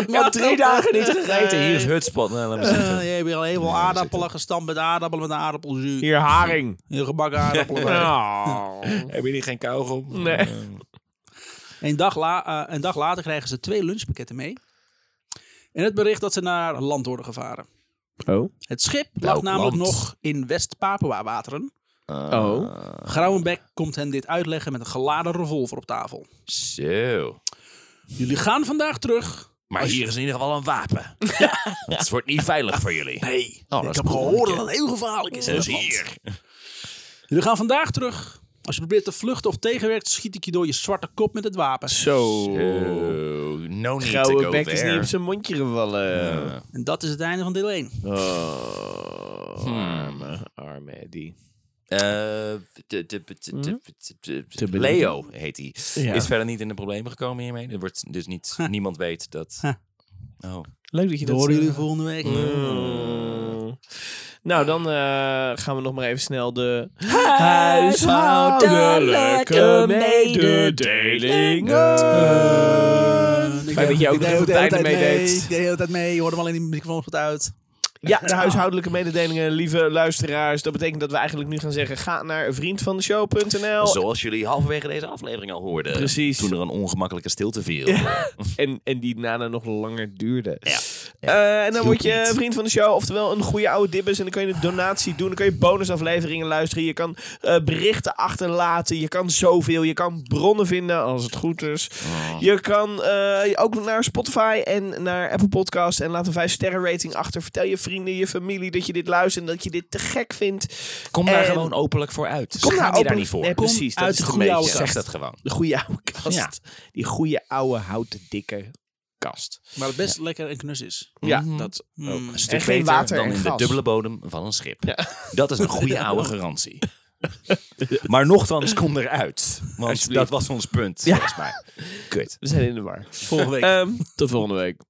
Ik heb drie dagen niet gegeten. Hier Hier, is hutspot. Nou, laat maar Eh, zitten. je hebt hier al heel veel aardappelen gestampt met aardappelen met een aardappelzuur. hier haring. Heel gebakken aardappelen. bij. Oh. Hebben jullie geen kauwgom? Nee. Eh, Een, dag la- eh, een dag later krijgen ze twee lunchpakketten mee. En het bericht dat ze naar land worden gevaren. Oh. Het schip Welk lag namelijk land? nog in West-Papua-wateren. Oh. Grauwenbeck komt hen dit uitleggen met een geladen revolver op tafel. Zo. Jullie gaan vandaag terug. Maar hier is in ieder geval een wapen. Het wordt niet veilig voor jullie. Nee, dat ik is heb cool, gehoord hè? dat het heel gevaarlijk is. in Dus dat land. hier. Jullie gaan vandaag terug. Als je probeert te vluchten of tegenwerkt, schiet ik je door je zwarte kop met het wapen. Zo. Oh, no need to Grauwe go bek there. is niet op zijn mondje gevallen. Ja. En dat is het einde van deel 1. Oh. Arme, arme Eddie. Hmm. Eh, de- de- de- de- de- de- de- bedenken. Leo heet hij. Ja. Is verder niet in de problemen gekomen hiermee. Er wordt dus niet, niemand weet dat. Huh. Oh. Leuk dat je Dat dat... horen eh, jullie volgende week. Mm. Nou, dan eh, gaan we nog maar even snel de Huishoudelijke mededelingen. Fijn dat je ook nog even op het einde meedeed. Ik deed de hele tijd mee. Je hoorde hem alleen in de microfoon wat uit. Ja, de huishoudelijke mededelingen, lieve luisteraars. Dat betekent dat we eigenlijk nu gaan zeggen: ga naar vriendvandeshow.nl. Zoals jullie halverwege deze aflevering al hoorden. Precies. Toen er een ongemakkelijke stilte viel. En, en die nana nog langer duurde. Ja. Eh, en dan word je Hielp niet. vriend van de show, oftewel een goede oude dibbes. En dan kan je een donatie doen, dan kan je bonusafleveringen luisteren. Je kan eh, berichten achterlaten, je kan zoveel. Je kan bronnen vinden, als het goed is. Je kan eh, ook naar Spotify en naar Apple Podcasts. En laat een 5 sterren rating achter. Vertel je vrienden, je familie dat je dit luistert en dat je dit te gek vindt. Kom daar En- gewoon openlijk voor uit. Kom Kom daar daar, je daar openlijk- niet voor. Nee, Kom precies, dat uit is de het goede meest. oude zeg kast. dat gewoon. De goede oude kast. Ja. Die goede oude houten dikke kast. Maar het best lekker en knus is. Hmm. Ja. Dat Een stuk geen beter water dan en in gas. de dubbele bodem van een schip. Dat is een goede oude garantie. maar nochtans, kom eruit. Want dat was ons punt, volgens mij. Kut. We zijn in de war. volgende week. Ehm, tot volgende week.